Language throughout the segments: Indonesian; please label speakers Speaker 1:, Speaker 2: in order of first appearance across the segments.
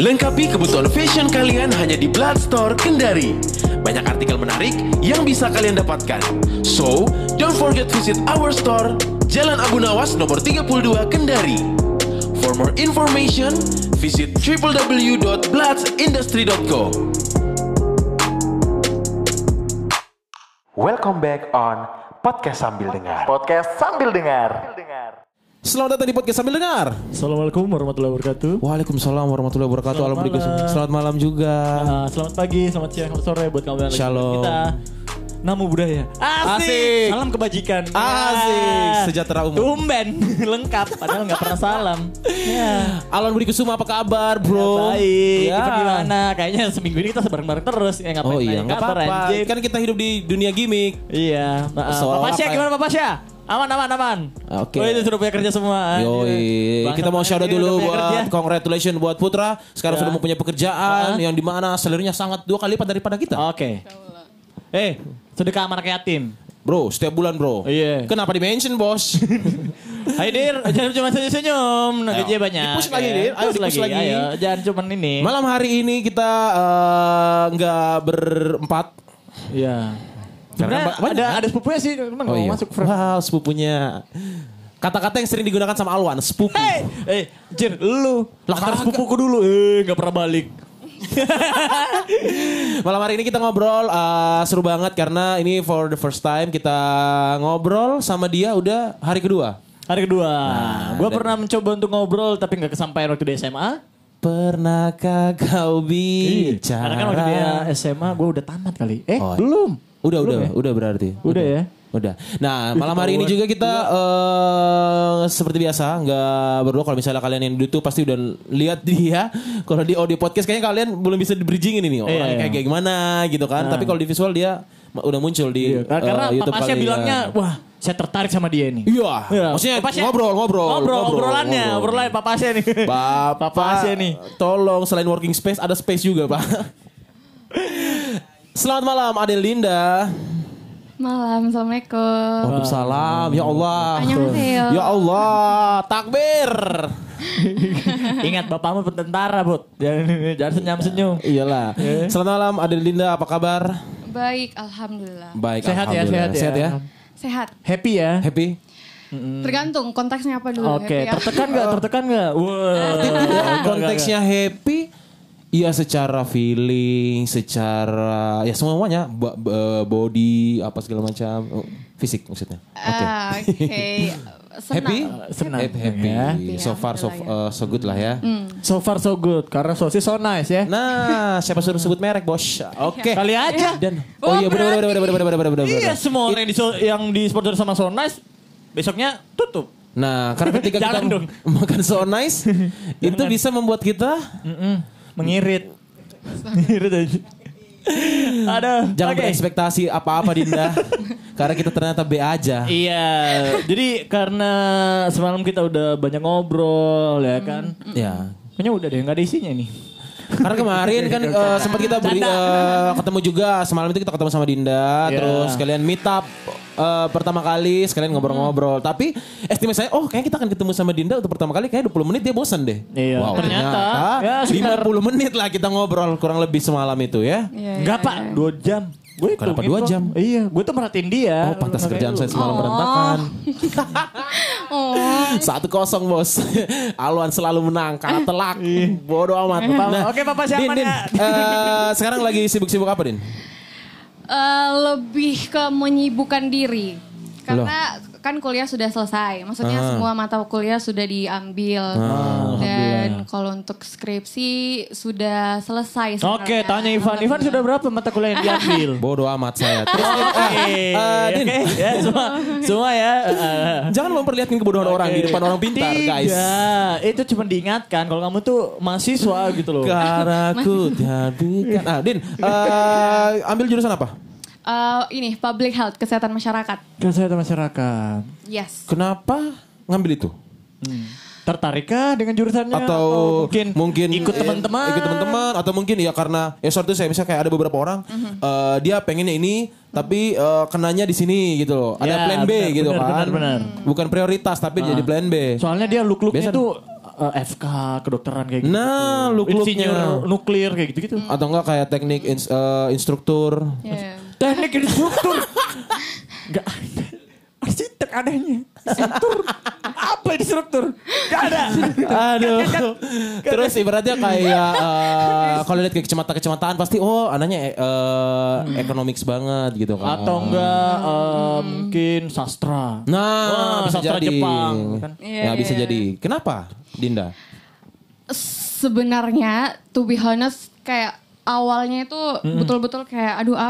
Speaker 1: Lengkapi kebutuhan fashion kalian hanya di Bloodstore Kendari. Banyak artikel menarik yang bisa kalian dapatkan. So, don't forget visit our store, Jalan Abu Nawas nomor 32 Kendari. For more information, visit www.bloodsindustry.co. Welcome back on Podcast Sambil Dengar.
Speaker 2: Podcast sambil dengar.
Speaker 3: Selamat datang di podcast sambil dengar.
Speaker 4: Assalamualaikum warahmatullahi wabarakatuh.
Speaker 3: Waalaikumsalam warahmatullahi wabarakatuh.
Speaker 4: Selamat
Speaker 3: Alhamdulillah.
Speaker 4: malam.
Speaker 3: Selamat malam juga.
Speaker 4: Ah, selamat pagi, selamat siang, selamat sore buat kamu yang lagi
Speaker 3: Shalom.
Speaker 4: dengerin kita. Namo budaya. Asik.
Speaker 3: Asik.
Speaker 4: Salam kebajikan.
Speaker 3: Asik.
Speaker 4: Ah.
Speaker 3: Sejahtera umum.
Speaker 4: Tumben lengkap padahal nggak pernah salam. Ya.
Speaker 3: Alan Budi Kusuma apa kabar, Bro?
Speaker 4: Baik.
Speaker 3: Ya.
Speaker 4: Kita gimana? Kayaknya seminggu ini kita bareng-bareng terus. Ya ngapain
Speaker 3: Oh
Speaker 4: nanya
Speaker 3: iya, nggak
Speaker 4: kabar,
Speaker 3: apa-apa.
Speaker 4: anjing.
Speaker 3: Kan kita hidup di dunia gimmick.
Speaker 4: Iya. maaf.
Speaker 3: Soal
Speaker 4: Papa
Speaker 3: apa
Speaker 4: Syah
Speaker 3: ya?
Speaker 4: gimana Papa Syah? Aman, aman, aman.
Speaker 3: Oke.
Speaker 4: Oh itu sudah punya kerja semua. anjing.
Speaker 3: Yoi,
Speaker 4: Bangsa
Speaker 3: kita mau shout out
Speaker 4: anjing, udah
Speaker 3: dulu
Speaker 4: punya kerja.
Speaker 3: buat congratulations buat Putra. Sekarang
Speaker 4: Ya.
Speaker 3: sudah mempunyai pekerjaan
Speaker 4: Ah.
Speaker 3: yang dimana salarinya sangat dua kali lipat daripada kita.
Speaker 4: Oke. Eh, sedekah anak yatim.
Speaker 3: Bro, setiap bulan bro.
Speaker 4: Iya.
Speaker 3: Kenapa di mention bos?
Speaker 4: Hai Dir, jangan cuma senyum-senyum, nah,
Speaker 3: Ayo.
Speaker 4: gajinya banyak.
Speaker 3: Di-push lagi,
Speaker 4: ya.
Speaker 3: Dir. Ayo,
Speaker 4: Push
Speaker 3: di-push lagi.
Speaker 4: Ayo, jangan cuma ini.
Speaker 3: Malam hari ini kita eh, nggak berempat.
Speaker 4: Iya. Sebenarnya
Speaker 3: Karena ba- banyak,
Speaker 4: ada
Speaker 3: kan?
Speaker 4: ada sepupunya sih, teman
Speaker 3: Oh,
Speaker 4: mau
Speaker 3: iya.
Speaker 4: masuk frame.
Speaker 3: Wow, sepupunya. Kata-kata yang sering digunakan sama Alwan, sepupu.
Speaker 4: Eh, eh, Jir, lu
Speaker 3: Lah,
Speaker 4: antar
Speaker 3: kagak.
Speaker 4: sepupuku dulu. Eh, gak pernah balik.
Speaker 3: Malam hari ini kita ngobrol eh, seru banget karena ini for the first time kita ngobrol sama dia udah hari kedua.
Speaker 4: Hari kedua, gue
Speaker 3: Nah, dan-
Speaker 4: pernah mencoba untuk ngobrol tapi nggak kesampaian waktu di SMA.
Speaker 3: Pernahkah kau
Speaker 4: Karena kan waktu dia
Speaker 3: bicara?
Speaker 4: SMA gue udah tamat kali. Eh,
Speaker 3: Oh,
Speaker 4: belum.
Speaker 3: Udah, udah,
Speaker 4: Belum ya?
Speaker 3: udah berarti.
Speaker 4: Udah ya?
Speaker 3: Udah. Nah, malam hari ini juga kita eh seperti biasa nggak berdua kalau misalnya kalian yang di YouTube pasti udah lihat dia. Kalau di audio podcast kayaknya kalian belum bisa di bridgingin ini orangnya
Speaker 4: Iya, iya.
Speaker 3: kayak kayak gimana gitu kan. Tapi kalau di visual dia ma- udah muncul di
Speaker 4: Iya, Karena, karena
Speaker 3: eh, YouTube
Speaker 4: Papa Syah
Speaker 3: kalian.
Speaker 4: bilangnya, wah, saya tertarik sama dia ini.
Speaker 3: Iya,
Speaker 4: Iya.
Speaker 3: maksudnya
Speaker 4: Papa Syah-
Speaker 3: ngobrol, ngobrol,
Speaker 4: ngobrol, obrolannya,
Speaker 3: ngobrol.
Speaker 4: obrolan Papa Syah nih.
Speaker 3: Bapak,
Speaker 4: Papa Asia nih.
Speaker 3: Tolong selain working space ada space juga, Pak. Selamat malam Adelinda.
Speaker 5: Malam, Assalamualaikum.
Speaker 3: Waalaikumsalam. Ya Allah.
Speaker 5: Annyeonghaseyo.
Speaker 3: Ya Allah, takbir.
Speaker 4: Ingat bapakmu tentara, Bud. Jangan jangan senyum-senyum.
Speaker 3: Iyalah. Selamat malam Adelinda, apa kabar?
Speaker 4: Oh.
Speaker 5: Baik, Alhamdulillah.
Speaker 3: Baik,
Speaker 4: Sehat ya,
Speaker 3: alhamdulillah.
Speaker 4: sehat ya.
Speaker 5: Sehat.
Speaker 4: Happy ya?
Speaker 3: Happy?
Speaker 5: Tergantung konteksnya apa dulu.
Speaker 4: Hmm. Oke,
Speaker 5: happy ya. apa.
Speaker 4: tertekan gak? Tertekan gak? Wah.
Speaker 3: Konteksnya happy Iya secara feeling, secara ya semuanya ba- ba- body apa segala macam Oh, fisik maksudnya.
Speaker 4: Eh,
Speaker 3: Oke.
Speaker 5: Ah, Oke. Senang.
Speaker 3: Happy?
Speaker 4: Senang.
Speaker 3: Happy, happy.
Speaker 4: Ya.
Speaker 3: So far so, uh, so good lah ya.
Speaker 4: So far so good. Karena sosis so nice ya.
Speaker 3: Nah, siapa suruh sebut merek, Bos?
Speaker 4: Iya.
Speaker 3: Oke.
Speaker 4: Kali aja.
Speaker 3: Dan
Speaker 5: Oh,
Speaker 3: oh iya benar benar benar benar benar benar benar.
Speaker 4: Iya, semua orang yang di, yang di sponsor sama so nice besoknya tutup.
Speaker 3: Nah, karena ketika kita
Speaker 4: Jangan dong.
Speaker 3: makan so nice itu bisa membuat kita
Speaker 4: Mm-mm. Mengirit. Mengirit aja. Aduh.
Speaker 3: jangan
Speaker 4: oke.
Speaker 3: berekspektasi apa-apa Dinda. karena kita ternyata B aja.
Speaker 4: Iya, jadi karena semalam kita udah banyak ngobrol
Speaker 5: Hmm.
Speaker 4: ya kan.
Speaker 3: Ya.
Speaker 4: Kayaknya udah deh, nggak ada isinya nih.
Speaker 3: Karena kemarin kan eh, sempat kita beri eh, ketemu juga semalam itu kita ketemu sama Dinda,
Speaker 4: Iya.
Speaker 3: terus kalian meet up eh, pertama kali,
Speaker 4: Hmm.
Speaker 3: sekalian ngobrol-ngobrol. Tapi estimasi saya, oh kayaknya kita akan ketemu sama Dinda untuk pertama kali kayaknya 20 menit dia bosan deh.
Speaker 4: Iya.
Speaker 3: Wow,
Speaker 4: Ternyata, ya, sekitar-
Speaker 3: ternyata 50 menit lah kita ngobrol kurang lebih semalam itu ya.
Speaker 5: Iya,
Speaker 4: Enggak
Speaker 5: iya,
Speaker 4: pak,
Speaker 5: iya.
Speaker 4: dua jam. Gue
Speaker 3: Kenapa
Speaker 4: hitungin
Speaker 3: dua
Speaker 4: kok.
Speaker 3: jam?
Speaker 4: Iya, gue tuh merhatiin dia.
Speaker 3: Oh pantas
Speaker 4: Makanya
Speaker 3: kerjaan
Speaker 4: lu-
Speaker 3: saya semalam berantakan.
Speaker 5: Oh,
Speaker 3: Satu kosong bos. Alwan selalu menang karena telak. Bodoh amat. Nah,
Speaker 4: Oke, Papa
Speaker 3: Din,
Speaker 4: siapa
Speaker 3: Din,
Speaker 4: ya?
Speaker 3: eh, sekarang lagi sibuk-sibuk apa Din?
Speaker 5: eh, lebih ke menyibukkan diri. Karena kan kuliah sudah selesai.
Speaker 4: Ah.
Speaker 5: Maksudnya semua mata kuliah sudah diambil. Dan kalau untuk skripsi sudah selesai sebenarnya.
Speaker 4: Oke, tanya Ivan.
Speaker 5: Iya.
Speaker 4: Ivan sudah berapa mata kuliah yang diambil?
Speaker 3: Bodoh amat saya. Terus
Speaker 4: Oke,
Speaker 3: eh, Din.
Speaker 4: oke, ya semua, semua ya. eh,
Speaker 3: Jangan memperlihatkan kebodohan orang di depan orang pintar,
Speaker 4: Tidak,
Speaker 3: guys.
Speaker 4: itu cuma diingatkan kalau kamu tuh mahasiswa gitu loh.
Speaker 3: Karena ku dihabiskan. Ah, Din, eh, ambil jurusan apa?
Speaker 5: Eh, ini public health, kesehatan masyarakat.
Speaker 4: Kesehatan masyarakat.
Speaker 5: Yes.
Speaker 3: Kenapa ngambil itu?
Speaker 4: Tertarikkah dengan jurusannya? Oh,
Speaker 3: Atau mungkin,
Speaker 4: Iya, ikut
Speaker 3: eh,
Speaker 4: teman-teman?
Speaker 3: ikut teman-teman atau mungkin ya karena ya sorry saya misalnya kayak ada beberapa orang eh, dia pengennya ini tapi eh, kenanya di sini gitu loh. Ada
Speaker 4: Ya,
Speaker 3: plan B
Speaker 4: benar,
Speaker 3: gitu
Speaker 4: benar, Ah.
Speaker 3: kan.
Speaker 4: benar, benar.
Speaker 3: Bukan prioritas tapi jadi plan B.
Speaker 4: Soalnya dia look-looknya
Speaker 3: Iya. Biasa-
Speaker 4: tuh eh, FK kedokteran kayak gitu.
Speaker 3: Nah, look-looknya.
Speaker 4: Insinyur nuklir kayak gitu-gitu.
Speaker 3: Atau enggak kayak teknik ins- eh, instruktur.
Speaker 5: Iya.
Speaker 4: Teknik instruktur. Gak ada. Arsitek adanya. Instruktur. Apa instruktur? Gak ada.
Speaker 3: Aduh. Terus ibaratnya kayak eh, kalau lihat kayak kecamatan-kecamatan pasti oh anaknya eh, eh, economics banget gitu kan.
Speaker 4: Atau enggak eh, mungkin sastra. Wah,
Speaker 3: Nah, bisa
Speaker 4: sastra
Speaker 3: jadi.
Speaker 4: Jepang, kan?
Speaker 5: Iya,
Speaker 3: Ya, bisa
Speaker 5: iya.
Speaker 3: jadi. Kenapa, Dinda?
Speaker 5: Sebenarnya to be honest kayak awalnya itu betul-betul kayak aduh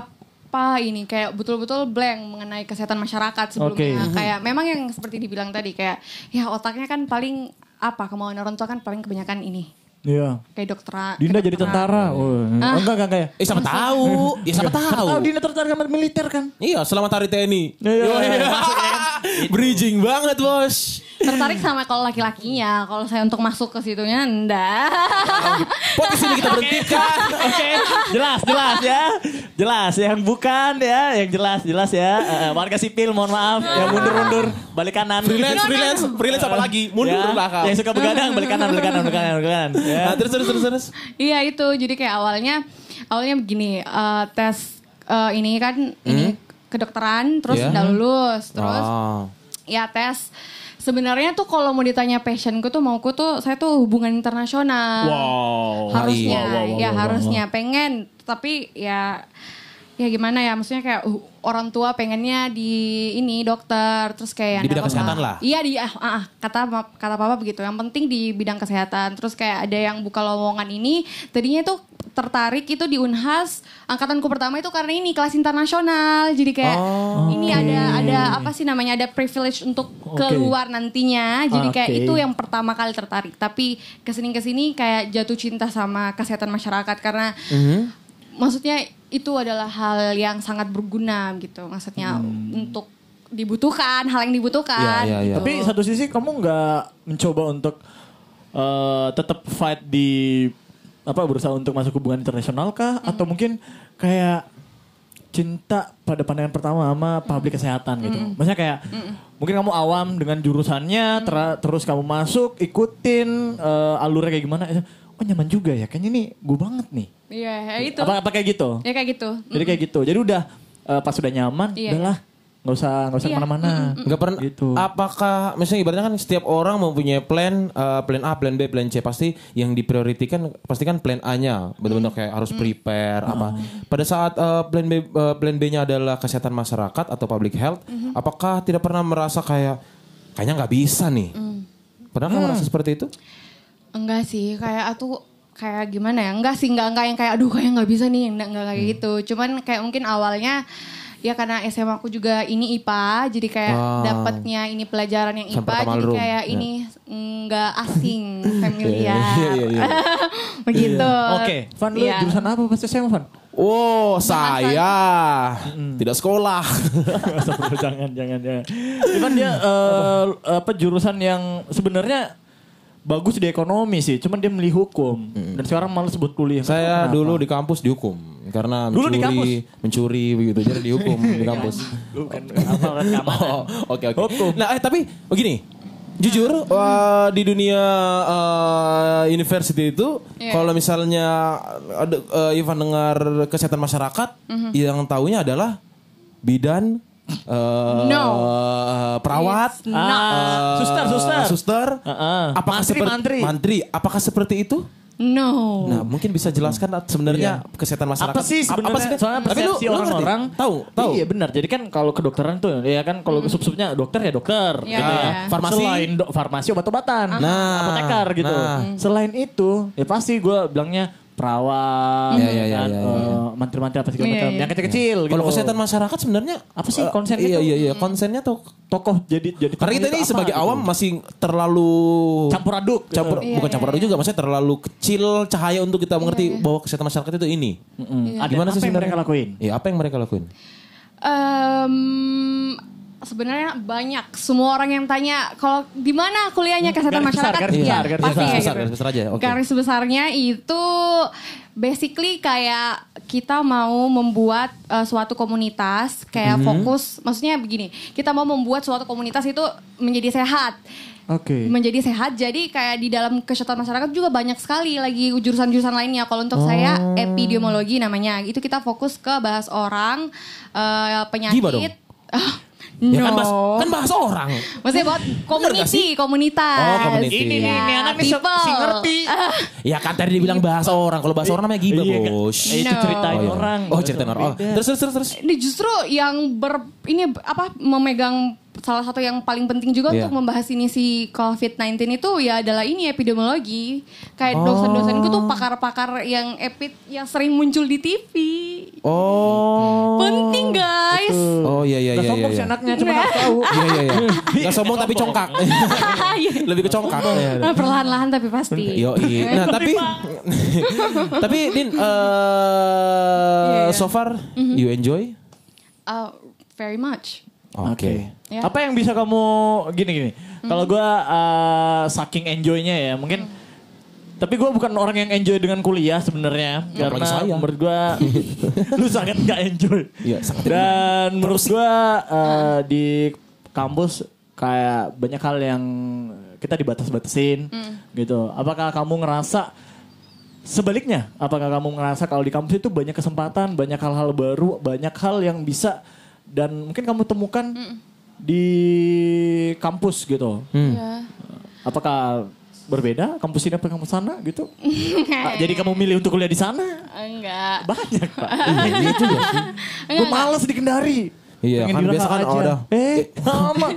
Speaker 5: apa ini kayak betul-betul blank mengenai kesehatan masyarakat sebelumnya.
Speaker 4: Oke. Mm-hmm.
Speaker 5: Kayak memang yang seperti dibilang tadi kayak ya otaknya kan paling apa kemauan orang tua kan paling kebanyakan ini
Speaker 4: Iya.
Speaker 5: kayak dokteran.
Speaker 4: Dinda jadi
Speaker 5: kedokteran.
Speaker 4: tentara. Oh,
Speaker 5: Ah.
Speaker 4: Enggak, enggak kayak.
Speaker 3: Eh siapa tahu? Ya siapa tahu?
Speaker 4: Oh, Dinda tertarik sama militer kan?
Speaker 3: Iya, selamat hari TNI.
Speaker 4: Iya, iya, iya.
Speaker 3: Bridging banget, Bos.
Speaker 5: tertarik sama kalau laki-lakinya kalau saya untuk masuk ke situnya enggak
Speaker 3: Podcast ini kita berhentikan.
Speaker 4: Oke, jelas, jelas ya. Jelas, yang bukan ya, yang jelas, jelas ya. Eh, eh, warga sipil, mohon maaf. Yang mundur-mundur, balik kanan.
Speaker 3: Freelance, freelance, freelance apa lagi? Mundur
Speaker 4: ya,
Speaker 3: ke belakang.
Speaker 4: Yang suka begadang, balik kanan, balik kanan, balik kanan, balik kanan. Ya.
Speaker 3: Nah, terus terus terus terus.
Speaker 5: iya itu jadi kayak awalnya awalnya begini eh, tes eh, ini kan ini
Speaker 4: Hmm?
Speaker 5: kedokteran terus
Speaker 3: Iya.
Speaker 5: enggak lulus terus
Speaker 3: Ah.
Speaker 5: ya tes sebenarnya tuh kalau mau ditanya passionku tuh mauku tuh saya tuh hubungan internasional
Speaker 4: Wow.
Speaker 5: harusnya
Speaker 4: Wow, wow, wow,
Speaker 5: ya
Speaker 4: wow, wow.
Speaker 5: harusnya pengen tapi ya ya gimana ya maksudnya kayak uh, orang tua pengennya di ini dokter terus kayak
Speaker 3: Di bidang
Speaker 5: nggak apa-apa.
Speaker 3: kesehatan lah.
Speaker 5: iya di ah, ah, ah, kata ma- kata papa begitu yang penting di bidang kesehatan terus kayak ada yang buka lowongan ini tadinya itu tertarik itu di Unhas angkatanku pertama itu karena ini kelas internasional jadi kayak
Speaker 3: Oh,
Speaker 5: ini ada ada apa sih namanya ada privilege untuk
Speaker 4: Oke.
Speaker 5: keluar nantinya jadi
Speaker 3: Ah,
Speaker 5: kayak
Speaker 4: Oke.
Speaker 5: itu yang pertama kali tertarik tapi kesini kesini kayak jatuh cinta sama kesehatan masyarakat karena
Speaker 3: Mhm.
Speaker 5: maksudnya itu adalah hal yang sangat berguna gitu maksudnya untuk dibutuhkan hal yang
Speaker 3: Hmm. Iya,
Speaker 5: dibutuhkan
Speaker 3: iya, iya.
Speaker 5: gitu.
Speaker 4: Tapi satu sisi kamu nggak mencoba untuk eh, tetap fight di apa berusaha untuk masuk hubungan internasional kah
Speaker 5: Hmm.
Speaker 4: atau mungkin kayak cinta pada pandangan pertama sama
Speaker 5: Hmm.
Speaker 4: publik kesehatan gitu. Maksudnya kayak mungkin kamu awam dengan
Speaker 5: Hmm.
Speaker 4: jurusannya tera- terus kamu masuk ikutin eh, alurnya kayak gimana oh nyaman juga ya kayaknya nih gue banget nih.
Speaker 5: iya ya itu
Speaker 4: Apa apa kayak gitu.
Speaker 5: ya kayak gitu
Speaker 4: Jadi kayak gitu. Jadi udah eh, pas udah nyaman
Speaker 5: Iya.
Speaker 4: udahlah nggak usah nggak usah
Speaker 5: Iya.
Speaker 4: kemana-mana.
Speaker 3: Enggak pernah.
Speaker 4: Gitu.
Speaker 3: Apakah misalnya ibaratnya kan setiap orang mempunyai plan eh, plan A, plan B, plan C pasti yang diprioritikan pasti kan plan A-nya benar-benar kayak harus prepare apa. Pada saat eh, plan B eh, plan B-nya adalah kesehatan masyarakat atau public health, apakah tidak pernah merasa kayak kayaknya nggak bisa nih?
Speaker 4: Mm.
Speaker 3: Pernah kamu merasa seperti itu?
Speaker 5: Enggak sih, kayak aku kayak gimana ya? Enggak sih, enggak enggak yang kayak aduh kayak nggak bisa nih, enggak enggak kayak gitu. Cuman kayak mungkin awalnya ya karena SMA aku juga ini IPA, jadi kayak
Speaker 3: Ah.
Speaker 5: dapatnya ini pelajaran yang
Speaker 3: Sampai
Speaker 5: IPA, jadi
Speaker 3: Tamalrum.
Speaker 5: kayak
Speaker 3: Ya.
Speaker 5: ini enggak asing, familiar.
Speaker 3: Iya, iya, iya.
Speaker 5: Begitu.
Speaker 4: Oke, Van lu
Speaker 5: Iya.
Speaker 4: jurusan apa pas SMA Van? Oh,
Speaker 3: Wow, saya tidak sekolah.
Speaker 4: jangan, jangan, jangan. Cuman dia eh, apa jurusan yang sebenarnya bagus di ekonomi sih, cuman dia milih hukum dan sekarang malah sebut kuliah.
Speaker 3: Hmm. saya
Speaker 4: Kenapa?
Speaker 3: dulu di kampus dihukum karena
Speaker 4: Dulu di
Speaker 3: mencuri, mencuri begitu jadi dihukum di kampus.
Speaker 4: Lu kan aparat keamanan.
Speaker 3: Oh, oke oke.
Speaker 4: Hukum.
Speaker 3: Nah, eh tapi begini. Jujur eh, di dunia eh, university itu
Speaker 5: Iya.
Speaker 3: kalau misalnya ada eh, Ivan dengar kesehatan masyarakat yang taunya adalah bidan eh,
Speaker 5: No.
Speaker 3: perawat
Speaker 5: It's not.
Speaker 4: Ah,
Speaker 3: eh,
Speaker 4: suster, suster.
Speaker 3: suster.
Speaker 4: Heeh.
Speaker 3: Apakah
Speaker 4: Mantri,
Speaker 3: seperti
Speaker 4: mantri.
Speaker 3: apakah seperti itu?
Speaker 5: No.
Speaker 3: Nah, mungkin bisa jelaskan sebenarnya kesehatan masyarakat.
Speaker 4: Iya. Apa sih sebenarnya?
Speaker 3: Apa sih?
Speaker 4: Soalnya
Speaker 3: Tapi lu-
Speaker 4: persepsi
Speaker 3: lu ngerti?
Speaker 4: orang-orang
Speaker 3: tahu, tahu. Hmm.
Speaker 4: Iya benar. Jadi kan kalau kedokteran tuh ya kan kalau sub-subnya dokter ya dokter
Speaker 5: Iya,
Speaker 4: gitu ya.
Speaker 5: iya.
Speaker 3: Farmasi.
Speaker 4: selain do- farmasi obat-obatan,
Speaker 3: Nah.
Speaker 4: apoteker gitu.
Speaker 3: Nah.
Speaker 4: Selain itu ya pasti gue bilangnya perawat,
Speaker 3: Iya, iya, iya,
Speaker 4: kan,
Speaker 3: iya,
Speaker 4: eh, mantri-mantri apa segala
Speaker 5: Iya,
Speaker 4: macam.
Speaker 5: iya.
Speaker 4: Yang kecil-kecil gitu.
Speaker 3: Kalau kesehatan masyarakat sebenarnya
Speaker 4: Apa sih
Speaker 3: eh,
Speaker 4: konsennya
Speaker 3: Iya
Speaker 4: tuh?
Speaker 3: iya iya konsennya tuh
Speaker 4: tokoh jadi
Speaker 3: karena
Speaker 4: jadi
Speaker 3: kita
Speaker 4: tokoh
Speaker 3: ini
Speaker 4: itu apa
Speaker 3: sebagai
Speaker 4: gitu.
Speaker 3: awam masih terlalu
Speaker 4: campur aduk. gitu.
Speaker 3: campur
Speaker 5: Iya,
Speaker 3: bukan
Speaker 5: iya,
Speaker 3: campur aduk juga maksudnya terlalu kecil cahaya untuk kita mengerti bahwa kesehatan masyarakat itu ini.
Speaker 4: Mm. Ada
Speaker 3: Iya. Gimana
Speaker 4: apa
Speaker 3: sih
Speaker 4: yang
Speaker 3: sebenarnya?
Speaker 4: mereka lakuin?
Speaker 3: Ya apa yang mereka lakuin?
Speaker 5: Em, sebenarnya banyak semua orang yang tanya kalau di mana kuliahnya kesehatan
Speaker 4: Garis besar,
Speaker 5: masyarakat
Speaker 4: garis
Speaker 5: Iya,
Speaker 4: besar, garis
Speaker 5: pasti
Speaker 4: besar.
Speaker 5: kayak
Speaker 3: Besar,
Speaker 5: gitu.
Speaker 3: garis besar aja, oke.
Speaker 5: Garis besarnya itu basically kayak kita mau membuat eh, suatu
Speaker 4: Mhm.
Speaker 5: komunitas kayak fokus maksudnya begini kita mau membuat suatu komunitas itu menjadi sehat
Speaker 4: Oke.
Speaker 5: menjadi sehat. Jadi kayak di dalam kesehatan masyarakat juga banyak sekali lagi jurusan-jurusan lainnya. Kalau untuk saya
Speaker 3: Oh.
Speaker 5: epidemiologi namanya. Itu kita fokus ke bahas orang eh, penyakit.
Speaker 3: Gimana dong?
Speaker 5: Ah,
Speaker 3: Ya kan
Speaker 5: no.
Speaker 3: bahas, kan bahas orang.
Speaker 5: Maksudnya buat community, komunitas.
Speaker 3: Oh, community. Ini nih,
Speaker 5: ini anak nih ngerti.
Speaker 3: Ya kan tadi dibilang bahas orang. Kalau bahas orang namanya gibah,
Speaker 4: Iya, kan?
Speaker 3: Bos.
Speaker 4: Eh, Itu
Speaker 5: No.
Speaker 4: ceritain
Speaker 3: Oh, iya.
Speaker 4: orang.
Speaker 3: Oh, cerita orang. Oh, terus terus terus terus.
Speaker 5: Ini justru yang ber ini apa memegang salah satu yang paling penting juga
Speaker 3: Iya.
Speaker 5: untuk membahas ini si COVID-19 itu ya adalah ini epidemiologi. Kayak dosen-dosenku tuh pakar-pakar yang epid yang sering muncul di TV.
Speaker 3: Oh.
Speaker 5: Penting guys.
Speaker 3: Oh iya iya
Speaker 4: Gak
Speaker 3: iya iya.
Speaker 4: sombong sih
Speaker 3: iya.
Speaker 4: anaknya, cuma
Speaker 5: Nah.
Speaker 4: gak tahu.
Speaker 3: Iya iya iya. Nggak sombong tapi congkak. Lebih ke congkak.
Speaker 4: Oh,
Speaker 3: Iya, iya.
Speaker 5: Nah, perlahan-lahan tapi pasti.
Speaker 3: Yo,
Speaker 4: Iya,
Speaker 3: nah tapi tapi Din eh
Speaker 5: Iya,
Speaker 3: so far
Speaker 5: Mhm.
Speaker 3: you enjoy?
Speaker 5: Uh, very much.
Speaker 3: Oke.
Speaker 5: Ya.
Speaker 4: Apa yang bisa kamu gini gini? Kalau
Speaker 3: Hmm.
Speaker 4: gue saking enjoynya ya mungkin. Tapi gue bukan orang yang enjoy dengan kuliah sebenarnya karena
Speaker 3: Hmm. apalagi saya.
Speaker 4: menurut gue lu sangat nggak enjoy.
Speaker 3: Iya, sangat
Speaker 4: Dan menurut gue di kampus kayak banyak hal yang kita dibatas-batasin gitu. Apakah kamu ngerasa Sebaliknya, apakah kamu ngerasa kalau di kampus itu banyak kesempatan, banyak hal-hal baru, banyak hal yang bisa dan mungkin kamu temukan di kampus gitu.
Speaker 3: Hmm.
Speaker 5: Ya.
Speaker 4: Apakah berbeda kampus ini apa kampus sana gitu? Ah, jadi kamu milih untuk kuliah di sana?
Speaker 5: Enggak.
Speaker 4: Banyak, Pak. Iya,
Speaker 5: Enggak,
Speaker 4: Gue males di Kendari.
Speaker 3: Iya,
Speaker 4: Pengen
Speaker 3: kan
Speaker 4: di
Speaker 3: biasa
Speaker 4: Raka
Speaker 3: kan
Speaker 4: aja.
Speaker 3: ada.
Speaker 4: Eh, sama.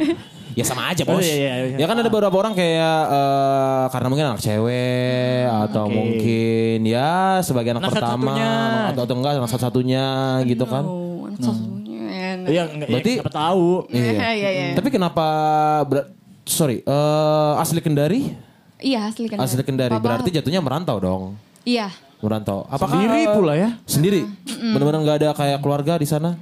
Speaker 3: Ya sama aja bos.
Speaker 4: Oh, iya, iya, iya.
Speaker 3: Ya kan ada beberapa orang kayak eh, karena mungkin anak cewek atau
Speaker 4: Hmm, Oke.
Speaker 3: mungkin ya sebagai anak,
Speaker 4: Anak
Speaker 3: pertama
Speaker 4: satu-satunya.
Speaker 3: atau atau enggak anak satu-satunya gitu kan.
Speaker 5: Oh, anak satunya.
Speaker 4: Iya,
Speaker 3: Berarti-
Speaker 4: enggak, Berarti, siapa tahu.
Speaker 5: Iya, iya, iya.
Speaker 3: Tapi kenapa ber- sorry eh, asli Kendari?
Speaker 5: Iya, asli Kendari.
Speaker 3: Asli Kendari
Speaker 5: Papa-
Speaker 3: berarti jatuhnya merantau dong.
Speaker 5: Iya.
Speaker 3: Merantau. Apakah eh,
Speaker 4: Sendiri pula ya.
Speaker 3: Sendiri? Benar-benar nggak ada kayak keluarga di sana?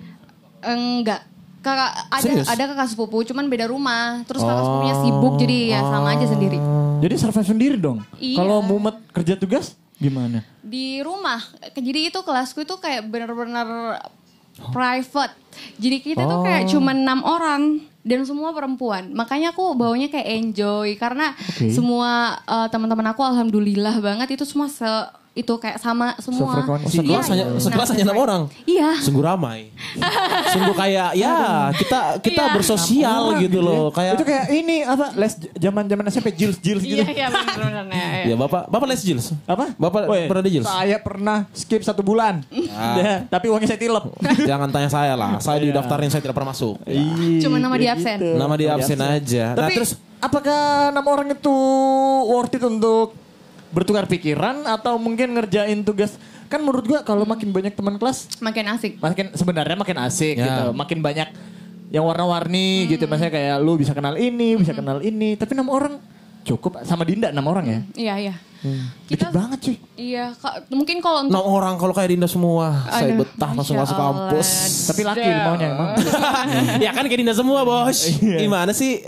Speaker 5: Enggak. Kakak ada
Speaker 3: Serius?
Speaker 5: ada kakak sepupu, cuman beda rumah. Terus kakak sepupunya sibuk jadi ya sama aja sendiri.
Speaker 4: Jadi survive sendiri dong.
Speaker 5: Iya.
Speaker 4: Kalau mumet kerja tugas gimana?
Speaker 5: Di rumah. Jadi itu kelasku itu kayak bener-bener private. Jadi kita tuh kayak cuman enam orang dan semua perempuan. Makanya aku baunya kayak enjoy karena semua eh, teman-teman aku alhamdulillah banget itu semua se itu kayak sama semua.
Speaker 4: Sefrekuensi.
Speaker 3: Oh, sekelas
Speaker 5: Iya,
Speaker 3: hanya
Speaker 5: iya.
Speaker 3: sekelas hanya enam orang.
Speaker 5: Iya.
Speaker 3: Sungguh ramai. Sungguh kayak ya kita kita
Speaker 5: Iya.
Speaker 3: bersosial gitu loh kayak
Speaker 4: ya. itu kan- kayak ini apa les zaman zaman SMP jils jils gitu
Speaker 5: Iya, iya bener-bener. Nah,
Speaker 3: Ya
Speaker 5: iya.
Speaker 3: Bapak, Bapak les Jils.
Speaker 4: apa Oh, iya.
Speaker 3: Bapak
Speaker 4: Woy,
Speaker 3: pernah di Ah. Jils?
Speaker 4: saya pernah skip satu bulan Ya, tapi uangnya saya tilep
Speaker 3: Jangan tanya saya lah.
Speaker 4: Iya.
Speaker 3: Saya didaftarin saya tidak pernah masuk.
Speaker 5: Iya.
Speaker 4: Ih,
Speaker 5: Cuma
Speaker 4: Iya. kayak
Speaker 5: nama
Speaker 4: gitu.
Speaker 5: dia absen.
Speaker 3: Nama dia absen aja. Nah,
Speaker 4: tapi
Speaker 3: terus
Speaker 4: apakah nama orang itu worth it untuk bertukar pikiran atau mungkin ngerjain tugas kan menurut gua kalau makin banyak teman kelas
Speaker 5: Makin asik.
Speaker 4: makin sebenarnya makin asik
Speaker 3: Ya.
Speaker 4: gitu makin banyak yang
Speaker 5: Hmm.
Speaker 4: warna-warni gitu misalnya kayak lu bisa kenal ini bisa kenal ini tapi nama orang cukup sama Dinda nama orang ya
Speaker 5: Iya, iya.
Speaker 4: dikit banget cuy
Speaker 5: Iya, ka- mungkin kalau untuk
Speaker 3: enam orang kalau kayak Dinda semua, saya
Speaker 5: Aduh,
Speaker 3: betah langsung
Speaker 5: Masya
Speaker 3: masuk kampus.
Speaker 5: Allah.
Speaker 4: tapi laki
Speaker 5: Damn.
Speaker 4: maunya emang
Speaker 3: ya kan kayak Dinda semua, Bos.
Speaker 4: Iya.
Speaker 3: Gimana sih?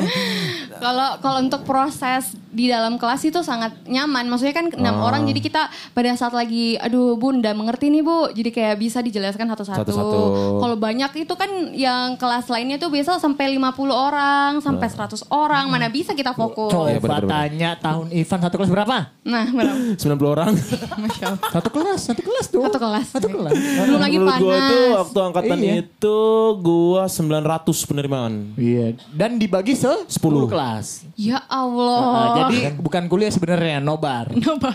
Speaker 5: kalau kalau untuk proses di dalam kelas itu sangat nyaman. Maksudnya kan enam orang jadi kita pada saat lagi aduh Bunda mengerti nih Bu. Jadi kayak bisa dijelaskan satu-satu.
Speaker 3: Satu-satu.
Speaker 5: Kalau banyak itu kan yang kelas lainnya tuh biasa sampai 50 orang, sampai 100 orang. Mana bisa kita fokus.
Speaker 3: Iya,
Speaker 4: coba
Speaker 3: bener-bener.
Speaker 4: tanya tahun Ivan satu kelas berapa
Speaker 5: Nah, benar.
Speaker 3: 90 orang.
Speaker 4: satu kelas satu kelas tuh
Speaker 5: Satu kelas.
Speaker 4: satu kelas
Speaker 5: Belum lagi
Speaker 3: Menurut Gua tuh
Speaker 5: panas.
Speaker 3: waktu angkatan
Speaker 4: Iya.
Speaker 3: itu gua 900 penerimaan.
Speaker 4: Iya, dan dibagi se 10
Speaker 3: Sepuluh.
Speaker 4: kelas.
Speaker 5: Ya
Speaker 4: Nah,
Speaker 5: Allah.
Speaker 4: jadi bukan kuliah sebenarnya, nobar.
Speaker 5: Kenapa?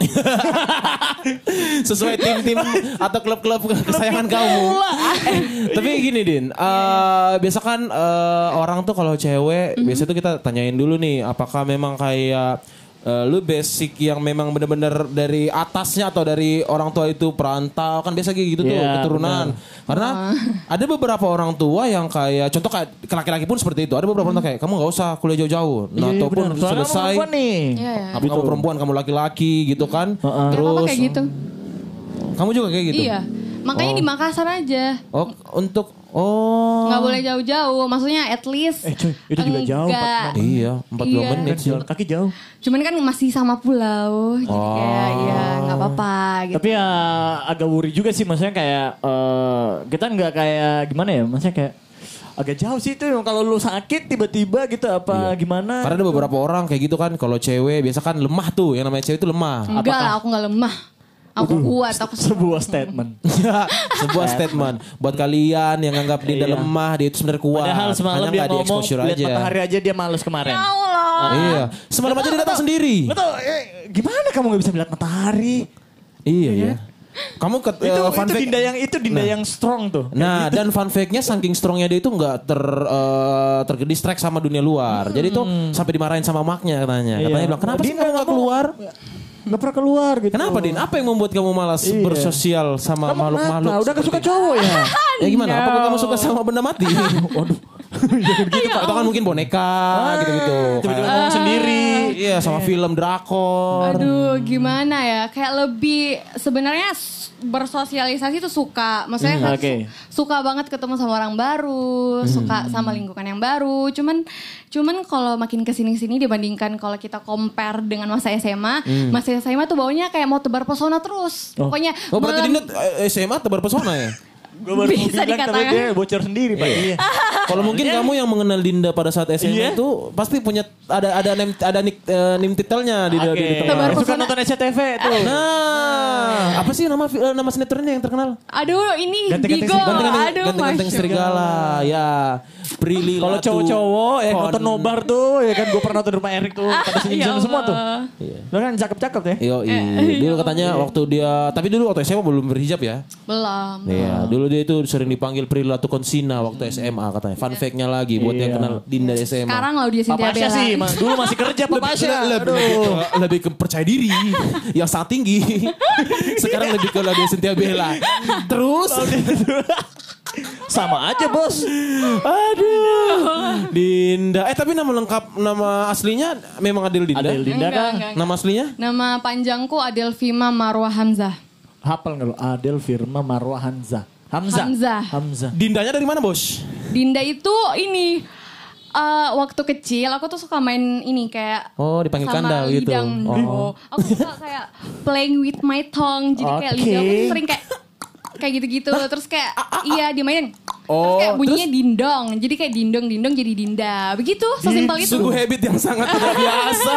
Speaker 3: sesuai tim-tim atau klub-klub kesayangan kamu. Eh, tapi gini Din,
Speaker 5: Iya.
Speaker 3: eh biasa kan eh, orang tuh kalau cewek
Speaker 5: Mhm.
Speaker 3: biasa tuh kita tanyain dulu nih apakah memang kayak eh, lu basic yang memang bener-bener dari atasnya atau dari orang tua itu perantau kan biasa kayak gitu tuh
Speaker 4: Iya,
Speaker 3: keturunan. Karena
Speaker 5: Oh.
Speaker 3: ada beberapa orang tua yang kayak contoh kayak ke laki-laki pun seperti itu. Ada beberapa orang tua kayak kamu nggak usah kuliah jauh-jauh. Nah,
Speaker 4: Iya,
Speaker 3: ataupun
Speaker 4: benar. Soalnya
Speaker 3: selesai
Speaker 4: perempuan nih. Gitu.
Speaker 5: Iya, iya.
Speaker 3: apa kamu perempuan kamu laki-laki gitu kan.
Speaker 5: Gak apa-apa
Speaker 3: Terus
Speaker 5: kayak gitu.
Speaker 3: kamu juga kayak gitu.
Speaker 5: Iya. Makanya di Makassar aja.
Speaker 3: Oh, untuk oh.
Speaker 5: nggak boleh jauh-jauh maksudnya at least
Speaker 4: Eh, cuy, itu juga jauh,
Speaker 5: enggak.
Speaker 4: Pak.
Speaker 3: Iya, 42
Speaker 5: Iya.
Speaker 3: menit sih.
Speaker 4: Jalan kaki jauh.
Speaker 5: cuman kan masih sama pulau jadi kayak
Speaker 3: Oh.
Speaker 5: ya nggak apa-apa gitu
Speaker 4: Tapi ya agak worry juga sih maksudnya kayak eh, kita nggak kayak gimana ya maksudnya kayak agak jauh sih itu kalau lu sakit tiba-tiba gitu apa gimana
Speaker 3: Karena ada beberapa orang kayak gitu kan kalau cewek biasa kan lemah tuh, yang namanya cewek itu lemah.
Speaker 5: Enggak lah, aku nggak lemah. Aku kuat, aku
Speaker 4: sebuah statement.
Speaker 3: Iya, Sebuah statement buat kalian yang anggap dia
Speaker 4: Iya.
Speaker 3: lemah, dia itu sebenarnya kuat.
Speaker 4: Padahal semalam
Speaker 3: Hanya
Speaker 4: dia
Speaker 3: nggak
Speaker 4: ngomong
Speaker 3: di-exposure
Speaker 4: lihat matahari aja dia males kemarin.
Speaker 5: Ya Allah.
Speaker 3: Iya, semalam aja dia datang sendiri.
Speaker 4: Betul. Eh, gimana kamu nggak bisa melihat matahari?
Speaker 3: Iya ya. Kamu ke
Speaker 4: itu
Speaker 3: eh, fun
Speaker 4: itu
Speaker 3: fact-
Speaker 4: dinda yang itu dinda yang strong tuh.
Speaker 3: Nah, dan fun fact-nya saking strongnya dia itu nggak ter eh, tergedistract sama dunia luar. Jadi itu
Speaker 4: Hmm.
Speaker 3: sampai dimarahin sama maknya katanya. Katanya
Speaker 4: Iya.
Speaker 3: bilang, "Kenapa sih
Speaker 4: Dinda,
Speaker 3: kamu nggak keluar?"
Speaker 4: Gak pernah keluar gitu.
Speaker 3: Kenapa Din? Apa yang membuat kamu malas
Speaker 4: Iya.
Speaker 3: bersosial sama
Speaker 4: Kamu Iya.
Speaker 3: makhluk-makhluk?
Speaker 4: kenapa? Udah gak suka
Speaker 3: seperti-
Speaker 4: cowok ya?
Speaker 3: Ya gimana? Apakah kamu suka sama benda mati? Waduh. gitu,
Speaker 4: Iya,
Speaker 3: Pak. Atau kan mungkin boneka gitu-gitu.
Speaker 4: Tiba-tiba
Speaker 3: Kayak-
Speaker 4: ngomong sendiri.
Speaker 3: Iya, sama film drakor.
Speaker 5: Aduh, gimana ya? Kayak lebih sebenarnya s- bersosialisasi itu suka. Maksudnya
Speaker 3: Mm,
Speaker 4: Hmm,
Speaker 5: kan
Speaker 4: oke.
Speaker 5: su- suka banget ketemu sama orang baru, suka sama lingkungan yang baru. Cuman cuman kalau makin ke sini-sini dibandingkan kalau kita compare dengan masa SMA, masa SMA tuh baunya kayak mau tebar pesona terus.
Speaker 4: Iya.
Speaker 5: Pokoknya
Speaker 3: Mm. Oh, berarti
Speaker 5: melem-
Speaker 3: Dinda eh, SMA tebar pesona ya?
Speaker 4: Gue baru mau bilang
Speaker 5: Bisa
Speaker 4: tapi
Speaker 5: dikatakan.
Speaker 4: dia bocor sendiri pak. Iya.
Speaker 3: Kalau mungkin kamu yang mengenal Dinda pada saat SMA
Speaker 4: Iya.
Speaker 3: itu pasti punya ada ada name, ada nick, eh, name titelnya di, di- di,
Speaker 4: Oke.
Speaker 3: tengah.
Speaker 5: Tebar
Speaker 4: Suka
Speaker 5: pesona.
Speaker 4: nonton SCTV tuh.
Speaker 3: Nah, apa sih nama fi- eh, nama sinetronnya yang terkenal?
Speaker 5: Aduh, ini
Speaker 4: Ganteng-ganteng
Speaker 5: Digo.
Speaker 4: serigala.
Speaker 5: Aduh,
Speaker 3: Ganteng-ganteng
Speaker 5: Masya
Speaker 3: serigala, ya. Prilly
Speaker 4: Kalau
Speaker 3: Latu-
Speaker 4: cowok-cowok ya
Speaker 3: Kon-
Speaker 4: nonton nobar tuh ya kan gue pernah nonton di rumah Erik tuh pada
Speaker 5: Ya
Speaker 4: senyum-senyum semua tuh.
Speaker 5: Allah.
Speaker 3: Iya.
Speaker 4: Lo kan cakep-cakep ya.
Speaker 3: Yo, dulu
Speaker 4: eh.
Speaker 3: katanya waktu dia tapi dulu waktu SMA belum berhijab ya.
Speaker 4: Mm-hmm.
Speaker 5: Belum.
Speaker 3: Iya, dulu dia itu sering dipanggil Prilly Latukonsina waktu SMA katanya. Fun
Speaker 4: Iya.
Speaker 3: fact-nya lagi buat yang kenal Dinda di SMA.
Speaker 5: Sekarang Laudia Cynthia
Speaker 4: Papa Asya
Speaker 5: Bella.
Speaker 4: sih, Ma. dulu masih kerja Papa Asya.
Speaker 3: lebih, lebih ke, lebih ke percaya diri yang sangat tinggi. Sekarang lebih ke Laudia Cynthia Bella. Terus
Speaker 4: Sama aja bos.
Speaker 3: aduh Dinda. Eh tapi nama lengkap nama aslinya memang Adil Dinda.
Speaker 4: Ada Linda kan.
Speaker 5: Enggak, enggak, enggak.
Speaker 3: Nama aslinya?
Speaker 5: Nama panjangku Adelvima Marwa Hamzah.
Speaker 4: Hafal nggak lo? Adel Firma Marwa Hamzah. Hamzah.
Speaker 5: Hamzah.
Speaker 4: Hamzah.
Speaker 3: Dindanya dari mana, Bos?
Speaker 5: Dinda itu ini eh, waktu kecil aku tuh suka main ini kayak
Speaker 3: Oh, dipanggil kandang gitu.
Speaker 5: lidang.
Speaker 3: Oh.
Speaker 5: Aku suka kayak playing with my tongue. Jadi kayak lidahku tuh
Speaker 4: Oke.
Speaker 5: sering kayak kayak gitu-gitu terus kayak iya dimainin. terus
Speaker 3: Ah, Oh,
Speaker 5: kayak bunyinya
Speaker 3: terus-
Speaker 5: dindong. Jadi kayak dindong dindong jadi dinda. Begitu, sesimpel itu.
Speaker 3: Sungguh habit yang sangat tidak biasa.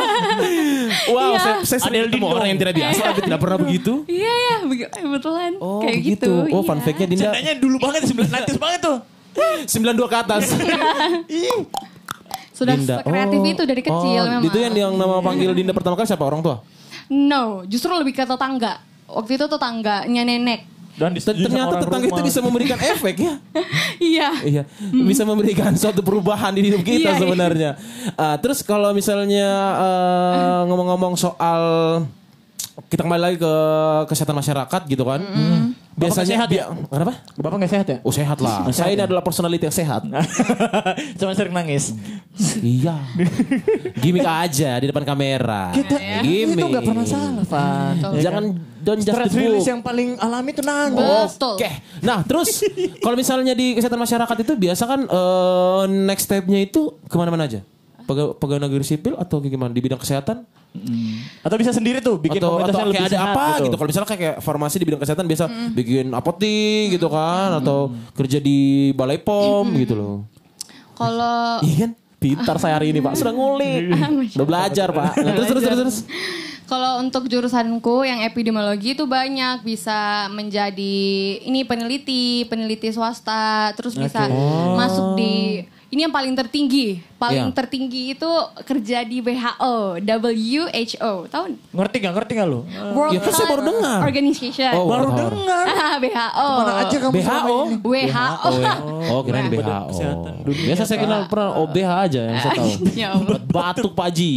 Speaker 3: Wow,
Speaker 5: Iya.
Speaker 3: saya, saya sering
Speaker 4: Adel
Speaker 3: ketemu
Speaker 4: Dindong.
Speaker 3: orang yang tidak biasa, tapi tidak pernah begitu.
Speaker 5: Iya ya, begi- eh, betulan.
Speaker 3: Oh,
Speaker 5: kayak
Speaker 3: begitu.
Speaker 5: gitu.
Speaker 3: Oh,
Speaker 5: iya.
Speaker 3: fun fact-nya Dinda
Speaker 4: Candanya dulu banget 90 banget tuh.
Speaker 3: 92 ke atas.
Speaker 5: Sudah Iya, sekreatif
Speaker 3: Oh.
Speaker 5: itu dari kecil
Speaker 3: Oh,
Speaker 5: memang.
Speaker 3: Itu yang yang nama panggil Dinda pertama kali siapa? Orang tua?
Speaker 5: No, justru lebih ke tetangga. Waktu itu tetangganya nenek.
Speaker 4: Dan
Speaker 3: Ter- ternyata tetangga itu bisa memberikan efek ya.
Speaker 5: Iya.
Speaker 3: Iya, bisa memberikan suatu perubahan di hidup
Speaker 5: Iya,
Speaker 3: kita
Speaker 5: iya.
Speaker 3: sebenarnya. Ah, terus kalau misalnya eh, ngomong-ngomong soal kita kembali lagi ke kesehatan masyarakat gitu kan. Biasanya
Speaker 4: sehat ya?
Speaker 3: bi- kenapa?
Speaker 4: Bapak nggak sehat ya?
Speaker 3: Oh sehat lah.
Speaker 4: Sehat
Speaker 3: Saya ini
Speaker 4: ya?
Speaker 3: adalah personality yang sehat.
Speaker 4: Cuma sering nangis.
Speaker 3: iya. Gimik aja di depan kamera. Gimik.
Speaker 4: Itu nggak pernah salah,
Speaker 5: Hmm.
Speaker 4: Fan. Ya
Speaker 3: Jangan
Speaker 4: kan?
Speaker 3: Iya don't just Oh.
Speaker 4: Stress
Speaker 3: the book.
Speaker 4: release yang paling alami itu nangis.
Speaker 5: Betul.
Speaker 3: Oke. Nah, terus kalau misalnya di kesehatan masyarakat itu biasa kan eh, next step-nya itu kemana-mana aja? Pega- Pegawai negeri sipil atau kayak gimana di bidang kesehatan
Speaker 4: Atau bisa sendiri tuh bikin
Speaker 3: atau, atau
Speaker 4: komunitasnya lebih
Speaker 3: kayak ada
Speaker 4: sehat
Speaker 3: apa gitu? Kalau misalnya kayak, kayak farmasi di bidang kesehatan biasa bikin apotik gitu kan atau kerja di balai pom gitu loh.
Speaker 5: Kalau
Speaker 3: Iya kan? Pintar saya hari ini Pak, sudah ngulik. Sudah belajar Pak. Nah, terus terus terus terus.
Speaker 5: kalau untuk jurusanku yang epidemiologi itu banyak bisa menjadi ini peneliti, peneliti swasta, terus bisa masuk di ini yang paling tertinggi.
Speaker 3: Oh.
Speaker 5: Paling
Speaker 3: Iya.
Speaker 5: tertinggi itu kerja di WHO, WHO. Tahu?
Speaker 4: Ngerti gak? Ngerti gak lo?
Speaker 3: Ya,
Speaker 5: World
Speaker 3: kan saya baru dengar.
Speaker 5: Organization.
Speaker 3: Oh,
Speaker 4: Baru
Speaker 3: Wow.
Speaker 4: dengar.
Speaker 5: WHO.
Speaker 4: Mana aja kamu selama
Speaker 3: WHO?
Speaker 4: ini?
Speaker 5: WHO.
Speaker 3: Oh, kirain
Speaker 4: Badan
Speaker 3: BHO.
Speaker 4: Nah, Kesehatan Dunia.
Speaker 3: Biasa saya kenal pernah OBH aja yang saya tahu.
Speaker 5: Ya Allah.
Speaker 3: Batuk Pak Haji.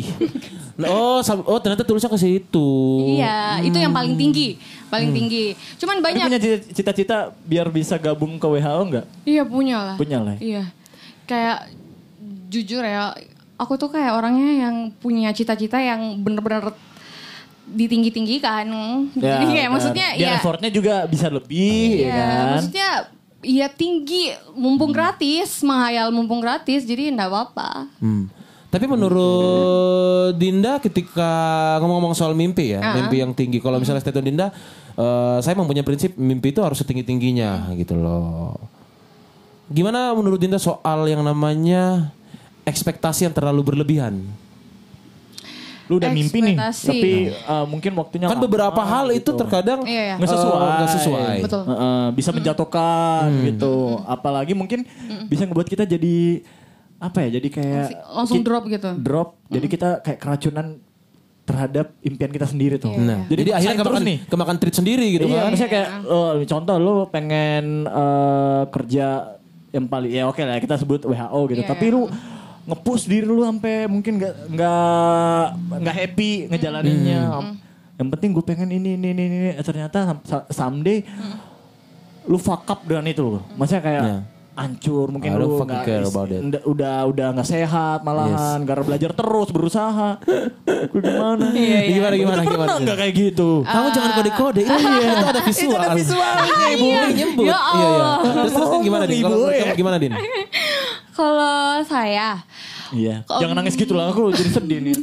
Speaker 3: Nah, Oh, sam- oh ternyata tulisnya ke situ.
Speaker 5: Iya, itu yang paling tinggi, paling tinggi.
Speaker 4: Hmm.
Speaker 5: Cuman
Speaker 4: Tapi
Speaker 5: banyak.
Speaker 4: punya cita- cita-cita biar bisa gabung ke WHO nggak?
Speaker 5: Iya punya lah.
Speaker 4: Punya lah.
Speaker 5: Iya. Kayak jujur ya, aku tuh kayak orangnya yang punya cita-cita yang bener-bener ditinggi-tinggi kan. Jadi kayak
Speaker 4: benar.
Speaker 5: maksudnya
Speaker 4: Biar
Speaker 5: ya.
Speaker 4: effortnya juga bisa lebih, ya,
Speaker 5: Iya,
Speaker 4: kan?
Speaker 5: maksudnya Iya tinggi, mumpung
Speaker 4: Hmm.
Speaker 5: gratis, menghayal mumpung gratis, jadi enggak apa-apa.
Speaker 3: Hmm. Tapi menurut Dinda ketika ngomong-ngomong soal mimpi ya, mimpi yang tinggi. Kalau misalnya statement Dinda, eh, saya mempunyai prinsip mimpi itu harus setinggi-tingginya gitu loh. Gimana menurut Dinda soal yang namanya ekspektasi yang terlalu berlebihan?
Speaker 4: Lu udah mimpi nih,
Speaker 5: Ekspektasi.
Speaker 4: tapi eh, mungkin waktunya
Speaker 3: Kan beberapa
Speaker 4: lama,
Speaker 3: hal itu
Speaker 4: gitu.
Speaker 3: terkadang
Speaker 5: Iya, iya.
Speaker 4: nggak sesuai,
Speaker 3: eh, nggak sesuai.
Speaker 5: Betul. Hmm.
Speaker 4: Heeh, bisa menjatuhkan
Speaker 3: Hmm.
Speaker 4: gitu. Apalagi mungkin bisa ngebuat kita jadi apa ya? Jadi kayak
Speaker 5: Langsung
Speaker 4: ki-
Speaker 5: drop gitu.
Speaker 4: Drop. Jadi kita kayak keracunan terhadap impian kita sendiri tuh.
Speaker 3: Nah,
Speaker 5: Ya.
Speaker 3: jadi, akhirnya
Speaker 4: maksain
Speaker 3: kemakan,
Speaker 4: terus nih.
Speaker 3: kemakan treat sendiri gitu
Speaker 4: iya,
Speaker 3: kan.
Speaker 4: misalnya kayak oh, contoh lu pengen eh, kerja yang paling ya oke lah kita sebut WHO gitu.
Speaker 5: Iya,
Speaker 4: Tapi
Speaker 5: iya.
Speaker 4: lu nge-push diri lu sampai mungkin nggak nggak nggak happy ngejalaninnya.
Speaker 3: Hmm.
Speaker 5: Hmm.
Speaker 4: Yang penting gue pengen ini ini ini, ini. Eh, ternyata sa- someday
Speaker 5: Hmm.
Speaker 4: lu fuck up dengan itu loh. Maksudnya kayak
Speaker 3: Iya.
Speaker 4: hancur mungkin
Speaker 3: I don't
Speaker 4: lu
Speaker 3: fucking
Speaker 4: nggak
Speaker 3: care about that.
Speaker 4: nda- udah udah nggak sehat malahan karena belajar terus berusaha. Gue gimana?
Speaker 5: Iya, iya.
Speaker 3: Gimana gimana
Speaker 4: Lu pernah
Speaker 3: gimana?
Speaker 4: nggak kayak gitu?
Speaker 3: Kamu jangan kode-kode. Iya, itu ada visual.
Speaker 4: Itu ada visualnya, Ibu.
Speaker 3: Iya, nyebut.
Speaker 5: Ya
Speaker 3: Iya, iya.
Speaker 5: Allah.
Speaker 3: Terus terus Din, gimana Din? Kalau
Speaker 4: Ibu,
Speaker 3: menurut
Speaker 4: ya.
Speaker 3: kamu gimana Din?
Speaker 5: Kalau saya
Speaker 4: Iya.
Speaker 5: Kok-
Speaker 4: Jangan nangis gitu lah, aku jadi sedih nih.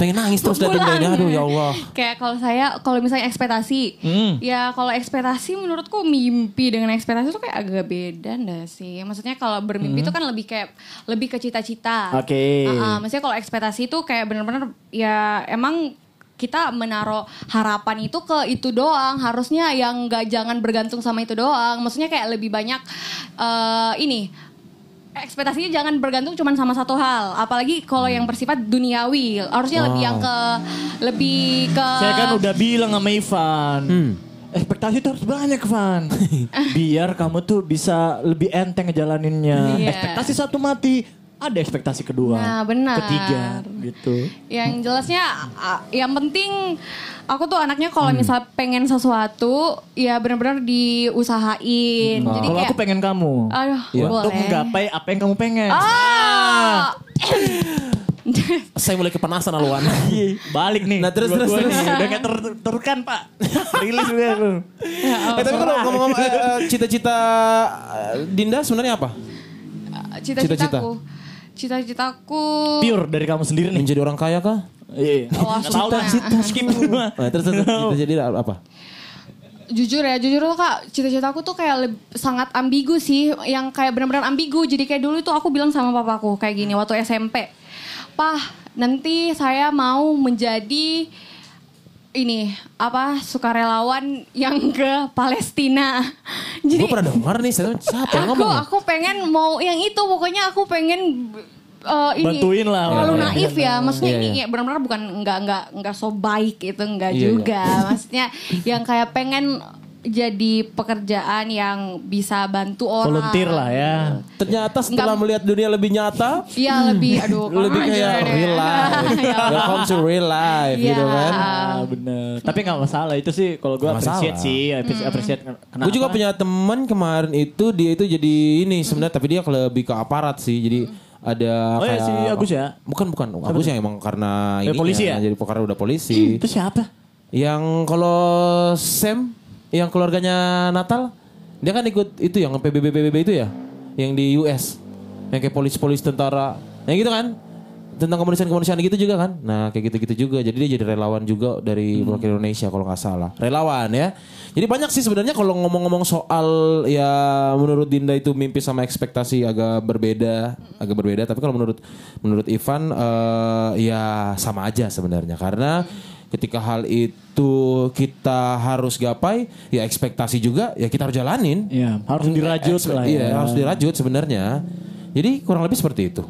Speaker 3: Pengen nangis terus dari
Speaker 5: Pulang.
Speaker 3: dendanya. Aduh ya Allah. Hmm.
Speaker 5: Kayak kalau saya kalau misalnya ekspektasi, ya kalau ekspektasi menurutku mimpi dengan ekspektasi itu kayak agak beda ndak sih? Maksudnya kalau
Speaker 3: Hmm.
Speaker 5: bermimpi itu kan lebih kayak lebih ke cita-cita.
Speaker 4: Oke.
Speaker 5: Ah, ah, maksudnya kalau ekspektasi itu kayak bener-bener ya emang kita menaruh harapan itu ke itu doang harusnya yang nggak jangan bergantung sama itu doang maksudnya kayak lebih banyak eh, ini ekspektasinya jangan bergantung cuman sama satu hal apalagi kalau yang
Speaker 4: Hmm.
Speaker 5: bersifat duniawi harusnya lebih yang ke lebih ke
Speaker 4: Oh. Saya kan udah bilang sama Ivan.
Speaker 3: Hmm.
Speaker 4: Ekspektasi tuh harus banyak, Van. Biar kamu tuh bisa lebih enteng ngejalaninnya.
Speaker 5: Iya.
Speaker 4: Ekspektasi satu mati, ada ekspektasi kedua.
Speaker 5: Nah, benar.
Speaker 4: Ketiga, gitu.
Speaker 5: yang jelasnya a- yang penting aku tuh anaknya
Speaker 4: Hmm.
Speaker 5: kalau misal pengen sesuatu ya benar-benar diusahain jadi
Speaker 4: Hmm. Kalau
Speaker 5: kayak
Speaker 4: aku pengen kamu. Iya.
Speaker 5: aduh
Speaker 4: Untuk
Speaker 5: boleh
Speaker 4: menggapai apa yang kamu pengen.
Speaker 5: Ah.
Speaker 3: Saya mulai kepanasan Alwan.
Speaker 4: Iya, Balik nih.
Speaker 3: Nah, terus, terus,
Speaker 4: dua-duanya
Speaker 3: terus.
Speaker 4: nih. Udah kayak ter terkan, Pak. Rilis udah lu.
Speaker 5: Ya
Speaker 3: Eh, tapi kalau ngomong-ngomong eh, eh, cita-cita eh, Dinda sebenarnya apa?
Speaker 5: cita-citaku cita-citaku
Speaker 4: Pure dari kamu sendiri nih.
Speaker 3: Menjadi orang kaya kah?
Speaker 4: Iya.
Speaker 5: Wah,
Speaker 4: Nggak tahu lah.
Speaker 5: cita-cita.
Speaker 4: Skip semua.
Speaker 3: Eh, terus terus terus, jadi apa?
Speaker 5: jujur ya jujur tuh kak cita-citaku tuh kayak leb- sangat ambigu sih yang kayak benar-benar ambigu jadi kayak dulu tuh aku bilang sama papaku kayak gini waktu SMP pah nanti saya mau menjadi ini apa sukarelawan yang ke Palestina jadi
Speaker 3: Gue pernah dengar nih, saya tahu siapa yang
Speaker 5: aku
Speaker 3: ngomong? ya?
Speaker 5: aku pengen mau yang itu pokoknya aku pengen eh, ini
Speaker 4: Bantuin lah,
Speaker 5: terlalu
Speaker 4: orang.
Speaker 5: naif ya maksudnya
Speaker 3: Iya,
Speaker 5: ini
Speaker 3: iya.
Speaker 5: ya, benar-benar bukan nggak nggak nggak so baik itu nggak
Speaker 3: Iya, iya.
Speaker 5: juga maksudnya yang kayak pengen jadi pekerjaan yang bisa bantu orang
Speaker 4: Volunteer lah ya.
Speaker 3: Ternyata setelah
Speaker 5: Enggak.
Speaker 3: melihat dunia lebih nyata,
Speaker 5: Iya lebih aduh kurang
Speaker 3: lebih
Speaker 5: ajar
Speaker 3: kayak
Speaker 5: deh.
Speaker 3: real life. Welcome to real life
Speaker 5: Ya Iya.
Speaker 3: gitu kan.
Speaker 4: Ah, bener. Tapi nggak masalah itu sih kalau gue
Speaker 3: Nggak
Speaker 4: appreciate
Speaker 3: masalah.
Speaker 4: sih, appreciate, appreciate. Kenapa?
Speaker 3: Gue juga punya temen kemarin itu dia itu jadi ini sebenarnya tapi dia lebih ke aparat sih. Jadi ada
Speaker 4: Oh ya,
Speaker 3: kayak
Speaker 4: si Agus ya?
Speaker 3: Bukan bukan Agus yang emang karena
Speaker 4: Ya,
Speaker 3: ini
Speaker 4: polisi ya?
Speaker 3: jadi karena udah polisi.
Speaker 4: Itu siapa?
Speaker 3: Yang kalau Sam yang keluarganya Natal, dia kan ikut itu yang PBB PBB itu ya, yang di US. Yang kayak polis-polis tentara. Yang gitu kan? Tentang kemanusiaan-kemanusiaan gitu juga kan? Nah, kayak gitu-gitu juga. Jadi dia jadi relawan juga dari wakil Indonesia kalau nggak salah. Relawan ya. Jadi banyak sih sebenarnya kalau ngomong-ngomong soal ya menurut Dinda itu mimpi sama ekspektasi agak berbeda, agak berbeda. Tapi kalau menurut menurut Ivan eh, ya sama aja sebenarnya karena ketika hal itu kita harus gapai ya ekspektasi juga ya kita harus jalanin
Speaker 4: Iya, harus dirajut
Speaker 3: Ekspe-
Speaker 4: lah ya.
Speaker 3: iya harus dirajut sebenarnya jadi kurang lebih seperti itu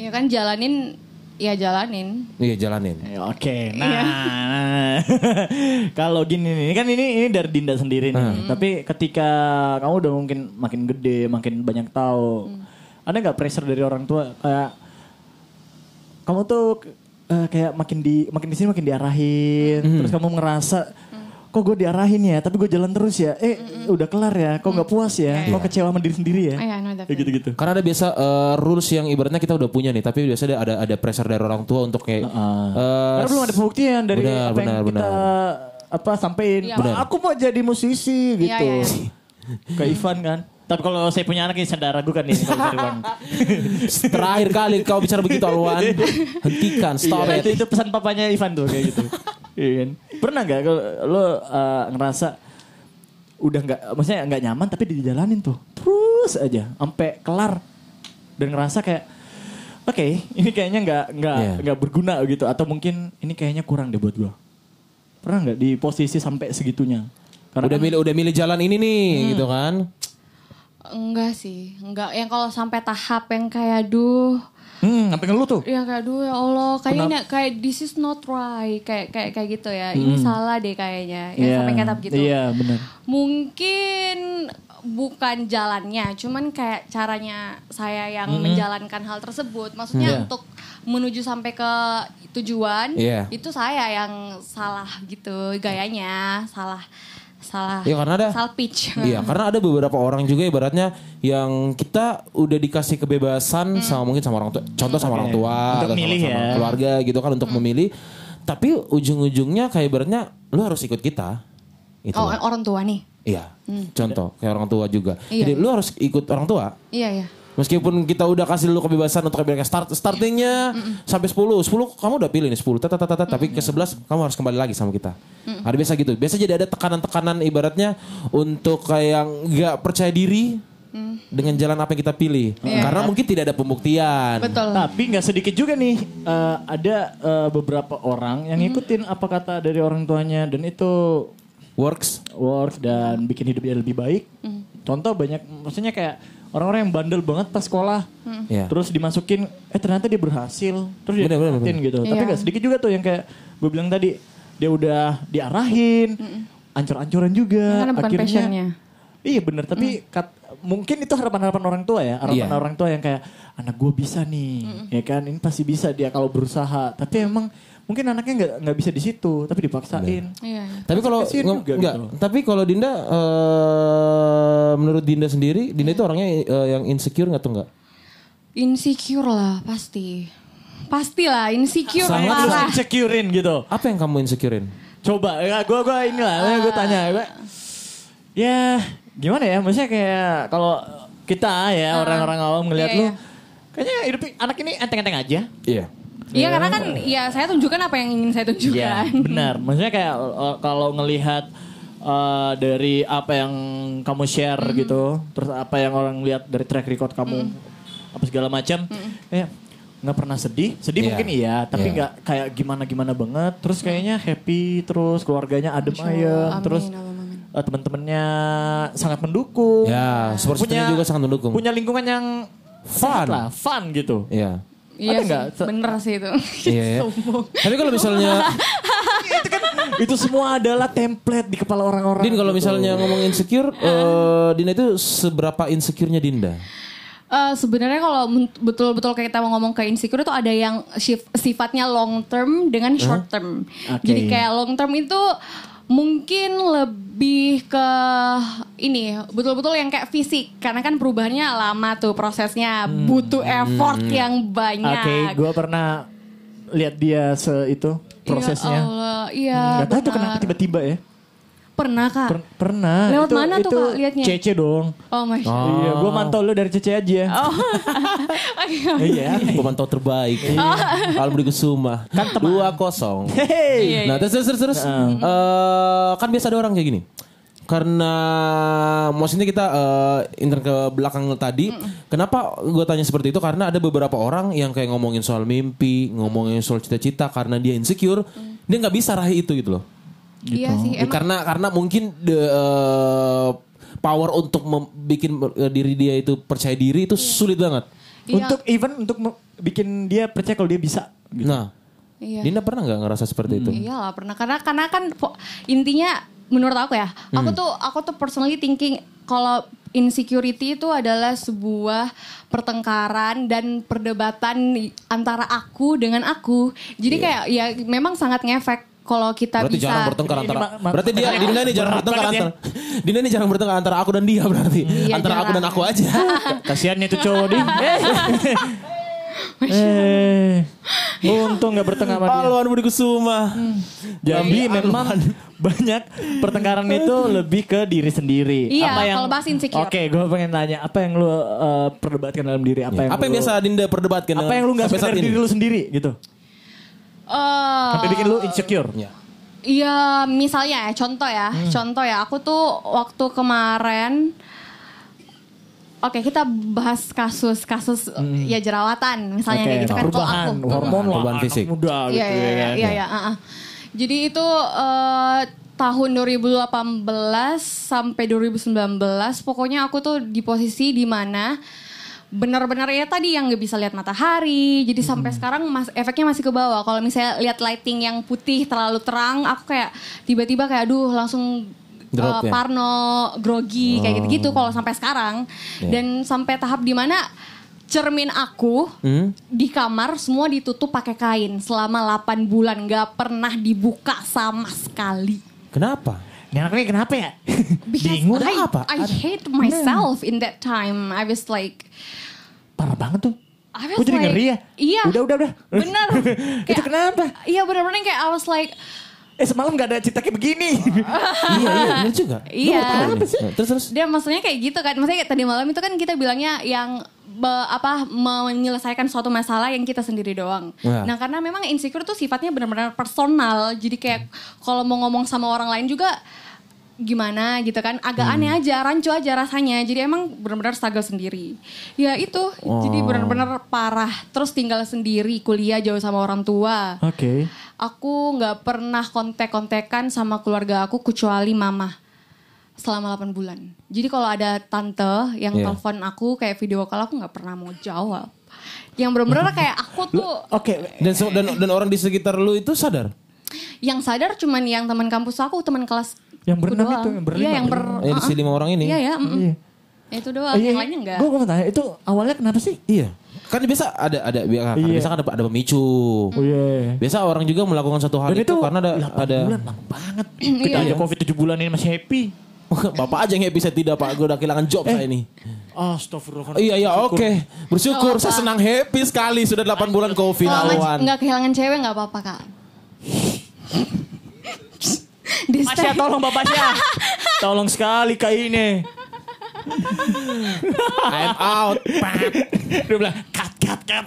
Speaker 5: ya kan jalanin ya jalanin
Speaker 3: iya jalanin
Speaker 4: Ya, Oke, nah, nah. kalau gini nih, ini kan ini ini dari Dinda sendiri nih. Tapi ketika kamu udah mungkin makin gede, makin banyak tahu, ada nggak pressure dari orang tua kayak kamu tuh eh, kayak makin di makin di sini makin diarahin, terus kamu ngerasa kok gue diarahin ya, tapi gue jalan terus ya, eh udah kelar ya, kok nggak puas ya, kok kecewa sama diri sendiri ya,
Speaker 5: Iya, I know that
Speaker 4: kayak gitu-gitu.
Speaker 3: karena ada biasa eh, rules yang ibaratnya kita udah punya nih tapi biasanya ada ada pressure dari orang tua untuk kayak eh,
Speaker 4: Karena belum ada pembuktian dari
Speaker 3: Benar,
Speaker 4: apa yang
Speaker 3: benar,
Speaker 4: kita apa sampein.
Speaker 5: Iya.
Speaker 4: Pak,
Speaker 5: Benar.
Speaker 4: Aku mau jadi musisi
Speaker 5: Iya,
Speaker 4: gitu.
Speaker 5: iya.
Speaker 4: Ke Ivan kan. Tapi kalau saya punya anak ini saya ragu kan ini kalau saya bilang.
Speaker 3: terakhir kali kau bicara begitu Alwan hentikan stop it
Speaker 4: Iya, itu, itu pesan papanya Ivan tuh kayak gitu. Iya kan? Pernah nggak kalau eh, lo uh, ngerasa udah nggak maksudnya nggak nyaman tapi dijalanin tuh terus terus aja sampai kelar dan ngerasa kayak oke ini kayaknya nggak nggak
Speaker 3: Iya.
Speaker 4: nggak berguna gitu atau mungkin ini kayaknya kurang deh buat gue pernah nggak di posisi sampai segitunya karena Hmm.
Speaker 3: udah
Speaker 4: kan-
Speaker 3: milih udah milih jalan ini nih gitu kan
Speaker 5: Enggak sih, enggak. Yang kalau sampai tahap yang kayak duh,
Speaker 4: hmm, sampai ngeluh tuh
Speaker 5: yang kayak duh ya Allah, kayaknya ini- kayak this is not right, kayak kayak kayak gitu ya. Ini
Speaker 3: Hmm.
Speaker 5: salah deh kayaknya. Ya
Speaker 4: Iya.
Speaker 5: sampai kayak tahap gitu.
Speaker 4: iya benar
Speaker 5: Mungkin bukan jalannya, cuman kayak caranya saya yang
Speaker 3: Hmm.
Speaker 5: menjalankan hal tersebut. Maksudnya
Speaker 4: Hmm.
Speaker 5: untuk menuju sampai ke tujuan
Speaker 3: Iya.
Speaker 5: itu saya yang salah gitu gayanya, salah salah.
Speaker 3: Ya, karena ada-
Speaker 5: salah pitch.
Speaker 3: Iya, karena ada beberapa orang juga ibaratnya yang kita udah dikasih kebebasan
Speaker 5: Hmm.
Speaker 3: sama mungkin sama orang tua, contoh sama orang tua,
Speaker 4: Iya. Untuk
Speaker 3: atau sama-
Speaker 4: milih
Speaker 3: sama,
Speaker 4: ya.
Speaker 3: keluarga gitu kan
Speaker 5: Hmm.
Speaker 3: untuk memilih. Tapi ujung-ujungnya kayak ibaratnya lu harus ikut kita. Gitu.
Speaker 5: Oh, orang tua nih.
Speaker 3: Iya. Contoh kayak orang tua juga.
Speaker 5: Iya.
Speaker 3: Jadi lu harus ikut orang tua.
Speaker 5: Iya, iya.
Speaker 3: Meskipun kita udah kasih lu kebebasan untuk kayak start startingnya sampai 10. 10 kamu udah pilih nih 10. Tata, tata, tata, Tapi ke 11 kamu harus kembali lagi sama kita. Ada biasa gitu. Biasa jadi ada tekanan-tekanan ibaratnya untuk kayak nggak percaya diri dengan jalan apa yang kita pilih. Karena mungkin tidak ada pembuktian.
Speaker 5: Betul.
Speaker 4: Tapi nggak sedikit juga nih eh, ada eh, beberapa orang yang ngikutin apa kata dari orang tuanya dan itu
Speaker 3: Works.
Speaker 4: works dan bikin hidup dia lebih baik.
Speaker 5: Hmm.
Speaker 4: Contoh banyak, maksudnya kayak orang-orang yang bandel banget pas sekolah,
Speaker 5: Hmm.
Speaker 3: Iya.
Speaker 4: terus dimasukin, eh ternyata dia berhasil, terus dia
Speaker 3: Bener, bener,
Speaker 4: dekatin gitu. Tapi
Speaker 5: Iya.
Speaker 4: nggak sedikit juga tuh yang kayak gue bilang tadi dia udah diarahin, ancur-ancuran juga,
Speaker 5: Hmm. Karena bukan passionnya. Hmm.
Speaker 4: Iya bener, tapi kat- mungkin itu harapan-harapan orang tua ya,
Speaker 3: Iya.
Speaker 4: harapan orang tua yang kayak anak gue bisa nih,
Speaker 5: Hmm.
Speaker 4: ya kan, ini pasti bisa dia kalau berusaha. Tapi emang mungkin anaknya nggak nggak bisa di situ, tapi dipaksain.
Speaker 5: Iya, iya.
Speaker 3: Tapi kalau
Speaker 4: Kasihan
Speaker 3: ngom-
Speaker 4: juga
Speaker 3: nggak,
Speaker 4: gitu loh.
Speaker 3: tapi kalau Dinda eh, menurut Dinda sendiri, Dinda itu orangnya eh, yang insecure nggak tuh nggak?
Speaker 5: Insecure lah pasti. Pastilah insecure
Speaker 4: Sangat lu
Speaker 5: parah.
Speaker 4: insecurein gitu.
Speaker 3: Apa yang kamu insecurein?
Speaker 4: Coba, ya gue gua inilah, gue tanya,
Speaker 5: Ah.
Speaker 4: gue, ya gimana ya, maksudnya kayak kalau kita ya orang-orang awam ngelihat
Speaker 5: Iya,
Speaker 4: lu,
Speaker 5: iya.
Speaker 4: kayaknya hidup anak ini enteng-enteng aja.
Speaker 3: Iya.
Speaker 5: Iya karena kan ya saya tunjukkan apa yang ingin saya
Speaker 4: Iya,
Speaker 5: tunjukkan.
Speaker 4: benar. Maksudnya kayak uh, kalau ngelihat uh, dari apa yang kamu share
Speaker 5: Mm-hmm.
Speaker 4: gitu, terus apa yang orang lihat dari track record kamu,
Speaker 5: Mm.
Speaker 4: apa segala macam, kayak nggak pernah sedih. Sedih
Speaker 3: Iya.
Speaker 4: mungkin iya, tapi
Speaker 3: Iya.
Speaker 4: nggak kayak gimana gimana banget. Terus kayaknya happy, terus keluarganya adem
Speaker 5: Masya Allah,
Speaker 4: ayem,
Speaker 5: amin,
Speaker 4: terus
Speaker 5: Allahumma amin.
Speaker 4: uh, teman-temannya sangat mendukung.
Speaker 3: Ya, support systemnya juga sangat mendukung.
Speaker 4: Punya lingkungan yang
Speaker 3: Fun.
Speaker 4: sehat lah, fun gitu.
Speaker 3: Iya.
Speaker 5: Iya
Speaker 4: Ada nggak?
Speaker 5: sih, bener sih itu.
Speaker 3: Iya. ya.
Speaker 5: Sombong.
Speaker 3: Tapi kalau misalnya
Speaker 4: Itu semua adalah template di kepala orang-orang.
Speaker 3: Din kalau
Speaker 4: gitu.
Speaker 3: misalnya ngomong insecure, eh, Dinda itu seberapa insecure-nya Dinda?
Speaker 5: Eh, Sebenarnya kalau men- betul-betul kayak kita mau ngomong ke insecure itu ada yang shif- sifatnya long term dengan short term.
Speaker 4: Oke.
Speaker 5: Jadi kayak long term itu mungkin lebih ke ini betul-betul yang kayak fisik karena kan perubahannya lama tuh prosesnya butuh effort yang banyak.
Speaker 4: Hmm. Oke, gue pernah lihat dia se itu
Speaker 5: Ya
Speaker 4: prosesnya.
Speaker 5: Allah, iya.
Speaker 4: Gak tahu itu
Speaker 5: benar.
Speaker 4: kenapa tiba-tiba ya.
Speaker 5: Pernah kak.
Speaker 4: Per- pernah.
Speaker 5: Lewat
Speaker 4: itu,
Speaker 5: mana tuh,
Speaker 4: itu
Speaker 5: Kak, liatnya?
Speaker 4: Cece dong.
Speaker 5: oh my god.
Speaker 4: Iya, gue mantau lu dari Cece aja.
Speaker 5: Oh.
Speaker 4: Iya.
Speaker 3: Pemantau terbaik. Kalau beri kesuma. Kan Dua kosong.
Speaker 5: Iya.
Speaker 4: Hey.
Speaker 3: Nah terus terus terus, terus. Eh, kan biasa ada orang kayak gini. Karena maksudnya kita eh, intern ke belakang tadi, kenapa gue tanya seperti itu? Karena ada beberapa orang yang kayak ngomongin soal mimpi, ngomongin soal cita-cita, karena dia insecure, dia nggak bisa raih itu gitu loh.
Speaker 5: Iya sih. Emang
Speaker 3: Karena karena mungkin the eh, power untuk membuat diri dia itu percaya diri itu sulit banget.
Speaker 5: Iya.
Speaker 4: Untuk even untuk me- bikin dia percaya kalau dia bisa. Gitu.
Speaker 3: Nah,
Speaker 5: Iya. Hmm.
Speaker 3: Dinda pernah nggak ngerasa seperti itu?
Speaker 5: Iyalah pernah karena karena kan po- intinya menurut aku ya, aku
Speaker 4: Hmm.
Speaker 5: tuh aku tuh personally thinking kalau insecurity itu adalah sebuah pertengkaran dan perdebatan i- antara aku dengan aku. Jadi
Speaker 4: Iya.
Speaker 5: kayak ya memang sangat ngefek kalau kita
Speaker 3: berarti
Speaker 5: bisa
Speaker 3: jarang bertengkar
Speaker 4: Ini
Speaker 3: antara
Speaker 4: ma- ma-
Speaker 3: berarti dia Dinda ini jarang bertengkar
Speaker 4: banget ya.
Speaker 3: antara Dinda ini jarang bertengkar antara aku dan dia berarti
Speaker 5: Iya,
Speaker 3: antara aku dan
Speaker 5: jarang.
Speaker 3: aku aja
Speaker 5: Ah.
Speaker 4: Kasiannya itu cowok dia. eh, untung gak bertengkar sama dia.
Speaker 3: Paluan Budi Kusuma
Speaker 4: Jadi
Speaker 5: Iya.
Speaker 4: memang banyak pertengkaran itu lebih ke diri sendiri.
Speaker 5: Iya, kalau bahas insecure.
Speaker 4: Oke, gue pengen tanya apa yang lu eh, perdebatkan dalam diri apa yang
Speaker 3: Iya. apa yang
Speaker 4: lu-
Speaker 3: biasa Dinda perdebatkan
Speaker 4: apa
Speaker 3: dengan-
Speaker 4: yang lu nggak
Speaker 3: sampai
Speaker 4: sadar
Speaker 3: saat ini?
Speaker 4: diri lu sendiri gitu
Speaker 5: Eh,
Speaker 4: sampai bikin lu insecure.
Speaker 3: Ya.
Speaker 5: Iya, misalnya ya, contoh ya, contoh ya, aku tuh waktu kemarin Oke, kita bahas kasus-kasus ya jerawatan misalnya kayak gitu kan. Kalau
Speaker 4: perubahan
Speaker 5: aku-
Speaker 4: hormon lah,
Speaker 3: Perubahan
Speaker 4: anak
Speaker 3: fisik.
Speaker 4: muda gitu ya
Speaker 5: Iya iya iya
Speaker 4: kan.
Speaker 5: iya iya, ah, ah. Jadi itu eh, tahun 2018 sampai 2019 pokoknya aku tuh di posisi di mana benar-benar ya tadi yang nggak bisa lihat matahari jadi sampai sekarang mas efeknya masih ke bawah kalau misalnya lihat lighting yang putih terlalu terang aku kayak tiba-tiba kayak aduh langsung
Speaker 3: Drop
Speaker 5: eh,
Speaker 3: ya?
Speaker 5: parno
Speaker 4: Oh.
Speaker 5: grogi kayak gitu-gitu kalau sampai sekarang
Speaker 4: Iya.
Speaker 5: dan sampai tahap di mana cermin aku
Speaker 4: Hmm?
Speaker 5: di kamar semua ditutup pakai kain selama 8 bulan nggak pernah dibuka sama sekali.
Speaker 3: Kenapa?
Speaker 4: Ini anak ini kenapa ya?
Speaker 5: Because
Speaker 4: Bingung
Speaker 5: iya. I,
Speaker 4: apa?
Speaker 5: I hate myself in that time. I was like
Speaker 4: Parah banget tuh.
Speaker 5: I was
Speaker 4: Gue jadi
Speaker 5: like-
Speaker 4: ngeri ya.
Speaker 5: Iya.
Speaker 4: Udah udah udah.
Speaker 5: Bener.
Speaker 4: Itu
Speaker 5: Kayak-
Speaker 4: kenapa?
Speaker 5: Iya bener-bener kayak I was like
Speaker 4: Eh semalam gak ada cetaknya begini.
Speaker 3: iya, iya, bener juga.
Speaker 5: Iya.
Speaker 3: Lu kenapa nih? Terus terus.
Speaker 5: Dia maksudnya kayak gitu kan. Maksudnya kayak tadi malam itu kan kita bilangnya yang be- apa menyelesaikan suatu masalah yang kita sendiri doang.
Speaker 3: Ya.
Speaker 5: Nah, karena memang insecure tuh sifatnya benar-benar personal. Jadi kayak kalau mau ngomong sama orang lain juga gimana gitu kan agak aneh aja rancu aja rasanya jadi emang benar-benar struggle sendiri ya itu jadi benar-benar parah terus tinggal sendiri kuliah jauh sama orang tua
Speaker 4: Oke.
Speaker 5: Aku nggak pernah kontek-kontekan sama keluarga aku kecuali mama selama 8 bulan. Jadi kalau ada tante yang
Speaker 3: Iya.
Speaker 5: telepon aku kayak video call aku nggak pernah mau jawab. Yang bener-bener kayak aku tuh
Speaker 3: oh.
Speaker 4: Oke.
Speaker 3: Dan, so- dan dan orang di sekitar lu itu sadar.
Speaker 5: yang sadar cuman yang teman kampus aku, teman kelas
Speaker 4: Yang
Speaker 5: aku
Speaker 4: berenam
Speaker 5: doang.
Speaker 4: itu, yang berlima.
Speaker 5: Iya, yang ber
Speaker 3: Eh, si lima orang ini.
Speaker 5: Iya, ya, mm-mm.
Speaker 4: Iya.
Speaker 5: Itu doang, yang lainnya enggak.
Speaker 4: Gue mau tanya itu awalnya kenapa sih?
Speaker 3: Iya. Kan biasa ada ada biasa
Speaker 4: Iya.
Speaker 3: kan ada, ada pemicu.
Speaker 4: Oh iya.
Speaker 3: Biasa orang juga melakukan satu hal
Speaker 4: Dan
Speaker 3: itu,
Speaker 4: itu
Speaker 3: karena ada
Speaker 4: delapan
Speaker 3: ada
Speaker 4: bulan lama banget.
Speaker 5: Iya.
Speaker 4: Kita aja covid 7 bulan ini masih happy.
Speaker 3: Bapak aja yang bisa tidak Pak, gue udah kehilangan job
Speaker 4: Eh.
Speaker 3: saya ini.
Speaker 4: Astagfirullahaladzim.
Speaker 3: Iya iya oke. Bersyukur
Speaker 5: Gak apa-apa.
Speaker 3: saya senang happy sekali sudah 8 bulan Covid
Speaker 5: Kalau
Speaker 3: lawan.
Speaker 5: nggak kehilangan cewek nggak apa-apa, Kak.
Speaker 4: Masya
Speaker 5: Distract.
Speaker 4: tolong Bapak Masya. tolong sekali kak ini.
Speaker 3: I'm out.
Speaker 4: Dia bilang cut cut cut.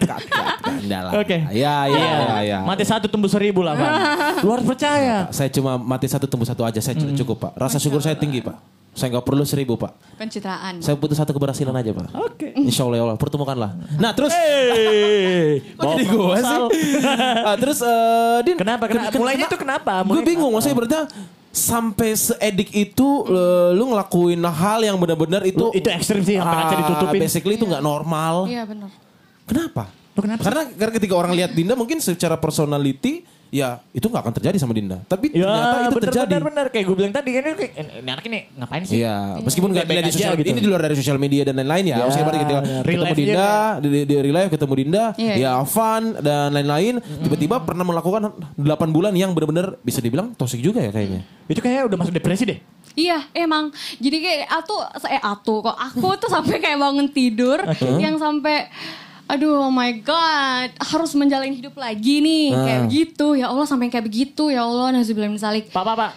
Speaker 3: Enggak lah.
Speaker 4: Oke. Iya.
Speaker 3: Ya ya ya ya.
Speaker 4: Mati satu tumbuh seribu lah Bang. Lu harus percaya.
Speaker 3: Saya cuma mati satu tembus satu aja, saya sudah cukup Pak. Rasa syukur saya tinggi Pak. Saya nggak perlu seribu Pak.
Speaker 5: Pencitraan.
Speaker 3: Saya butuh satu keberhasilan aja Pak.
Speaker 4: Oke.
Speaker 3: Insya Allah ya Allah, pertemukanlah. Nah terus.
Speaker 4: Hey,
Speaker 3: Kok jadi gue sih? Ah, terus eh, Din.
Speaker 4: Kenapa? Kenapa?
Speaker 3: ken-
Speaker 4: Mulainya tuh kenapa?
Speaker 3: Gue
Speaker 4: Mulai-
Speaker 3: bingung maksudnya berarti sampai seedik itu eh, lu ngelakuin hal yang benar-benar itu
Speaker 4: Itu ekstrim sih, hampir aja
Speaker 3: ah,
Speaker 4: ditutupin.
Speaker 3: Basically itu nggak normal.
Speaker 5: Iya, benar.
Speaker 3: Kenapa?
Speaker 4: Lu kenapa sih?
Speaker 3: Karena karena ketika orang lihat Dinda mungkin secara personality ya itu nggak akan terjadi sama Dinda. Tapi
Speaker 4: Ya
Speaker 3: ternyata itu
Speaker 4: bener,
Speaker 3: terjadi.
Speaker 4: bener bener kayak gue bilang tadi kan ini, ini anak ini ngapain sih?
Speaker 3: Iya, meskipun nggak
Speaker 4: Baik-baik
Speaker 3: dilihat di
Speaker 4: aja
Speaker 3: sosial
Speaker 4: gitu.
Speaker 3: ini di luar dari sosial media dan lain-lain ya.
Speaker 4: Ya,
Speaker 3: Maksudnya berarti ketika
Speaker 4: real
Speaker 3: ketemu
Speaker 4: life-nya
Speaker 3: Dinda, di, di, di real life ketemu Dinda,
Speaker 5: Iya,
Speaker 3: ya fun dan lain-lain. Tiba-tiba pernah melakukan 8 bulan yang benar-benar bisa dibilang toksik juga ya kayaknya.
Speaker 4: Itu kayaknya udah masuk depresi deh.
Speaker 5: Iya, emang. Jadi kayak atu eh atu kok aku tuh sampai kayak bangun tidur yang sampai aduh oh my god, harus menjalani hidup lagi nih
Speaker 4: Ah.
Speaker 5: kayak begitu. Ya Allah sampai kayak begitu. Ya Allah, nazubillah min zalik.
Speaker 4: Pak, pak, pak.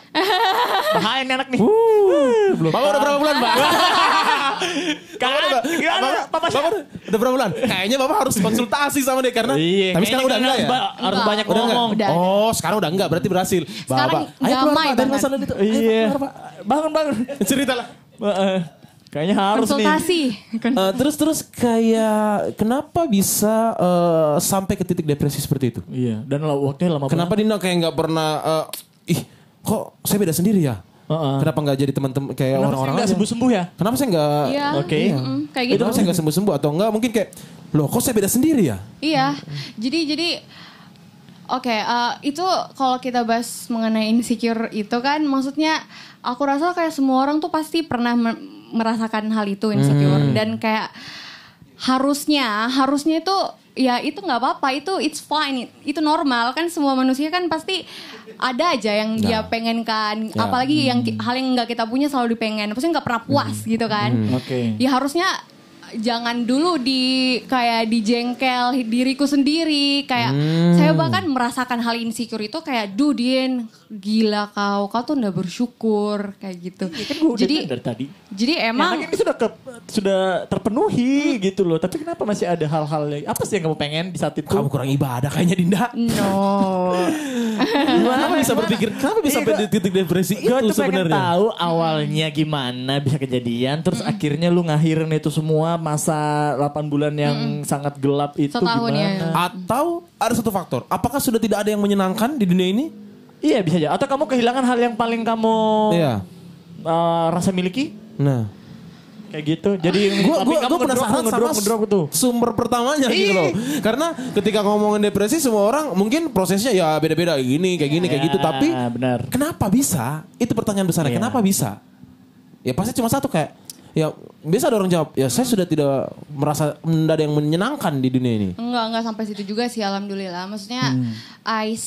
Speaker 4: Bahaya nih anak nih. belum.
Speaker 3: Bapak udah berapa bulan, Pak?
Speaker 4: Kan, gimana? Papa
Speaker 3: Bapak udah, udah berapa bulan? Kayaknya Bapak harus konsultasi sama dia karena
Speaker 4: Iya,
Speaker 3: tapi sekarang
Speaker 4: kayaknya
Speaker 3: udah enggak ya?
Speaker 4: ba- Harus
Speaker 5: Enggak.
Speaker 4: banyak
Speaker 3: Udah enggak?
Speaker 4: ngomong.
Speaker 5: Udah.
Speaker 3: Oh, sekarang udah enggak berarti berhasil.
Speaker 5: Sekarang damai
Speaker 3: Pak, dari
Speaker 5: banget.
Speaker 3: masalah itu. Ayo,
Speaker 4: Iya.
Speaker 3: keluar, Pak.
Speaker 4: Bangun, bangun.
Speaker 3: Ceritalah.
Speaker 4: Heeh. Kayaknya harus nih.
Speaker 5: Konsultasi. Kon-
Speaker 3: Eh, terus terus kayak kenapa bisa eh, sampai ke titik depresi seperti itu?
Speaker 4: Iya, dan lo- waktunya lama
Speaker 3: Kenapa Dina kayak nggak pernah eh, ih kok saya beda sendiri ya?
Speaker 4: Heeh.
Speaker 3: Kenapa nggak jadi teman-teman kayak orang-orang
Speaker 4: enggak
Speaker 3: aja?
Speaker 4: sembuh-sembuh ya?
Speaker 3: Kenapa saya nggak?
Speaker 5: Iya.
Speaker 4: Oke.
Speaker 5: mm-mm, kayak
Speaker 3: Itu
Speaker 5: gitu.
Speaker 3: saya nggak sembuh-sembuh atau enggak? Mungkin kayak loh kok saya beda sendiri ya?
Speaker 5: Iya, jadi jadi oke eh, itu kalau kita bahas mengenai insecure itu kan, maksudnya aku rasa kayak semua orang tuh pasti pernah me- merasakan hal itu insecure
Speaker 3: Hmm.
Speaker 5: dan kayak harusnya harusnya itu ya itu nggak apa-apa itu it's fine itu normal kan semua manusia kan pasti ada aja yang dia
Speaker 3: Nah.
Speaker 5: pengen kan
Speaker 3: Ya.
Speaker 5: apalagi yang ki- hal yang nggak kita punya selalu dipengen pasti nggak pernah puas
Speaker 3: Hmm.
Speaker 5: gitu kan
Speaker 4: Oke.
Speaker 5: ya harusnya jangan dulu di kayak dijengkel diriku sendiri kayak
Speaker 4: Hmm.
Speaker 5: saya bahkan merasakan hal insecure itu kayak duh Din gila kau kau tuh udah bersyukur kayak gitu
Speaker 4: Kan gue udah Ya,
Speaker 5: jadi
Speaker 4: dari tadi.
Speaker 5: jadi
Speaker 4: Emang
Speaker 5: emang
Speaker 4: ini sudah ke sudah terpenuhi gitu loh. Tapi kenapa masih ada hal-hal yang- apa sih yang kamu pengen di saat itu?
Speaker 3: Kamu kurang ibadah kayaknya Dinda.
Speaker 5: No.
Speaker 3: Kenapa bisa berpikir? Kenapa bisa
Speaker 4: Iya,
Speaker 3: sampai
Speaker 4: gua-
Speaker 3: di titik depresi
Speaker 4: Gue
Speaker 3: itu
Speaker 4: tuh pengen
Speaker 3: sebenarnya?
Speaker 4: tahu awalnya gimana bisa kejadian terus akhirnya lu ngakhirin itu semua masa 8 bulan yang sangat gelap itu
Speaker 5: Setahun ya.
Speaker 4: gimana?
Speaker 3: Atau ada satu faktor, apakah sudah tidak ada yang menyenangkan di dunia ini?
Speaker 4: Iya bisa aja. Atau kamu kehilangan hal yang paling kamu
Speaker 3: Iya.
Speaker 4: eh, rasa miliki
Speaker 3: Nah,
Speaker 4: kayak gitu. Jadi
Speaker 5: Ah.
Speaker 3: gua
Speaker 4: tapi
Speaker 3: gua gua
Speaker 4: kamu ngedrop,
Speaker 3: penasaran sama
Speaker 4: ngedrop, ngedrop tuh.
Speaker 3: sumber pertamanya gitu loh. Karena ketika ngomongin depresi semua orang mungkin prosesnya ya beda-beda kayak gini, kayak gini, kayak
Speaker 4: Ya,
Speaker 3: gitu, tapi
Speaker 4: benar.
Speaker 3: Kenapa bisa? Itu pertanyaan besarnya.
Speaker 4: Iya.
Speaker 3: Kenapa bisa? Ya pasti cuma satu kayak ya biasa ada orang jawab, ya saya sudah tidak merasa tidak ada yang menyenangkan di dunia ini.
Speaker 5: Enggak, enggak sampai situ juga sih alhamdulillah. Maksudnya
Speaker 4: Hmm.
Speaker 5: I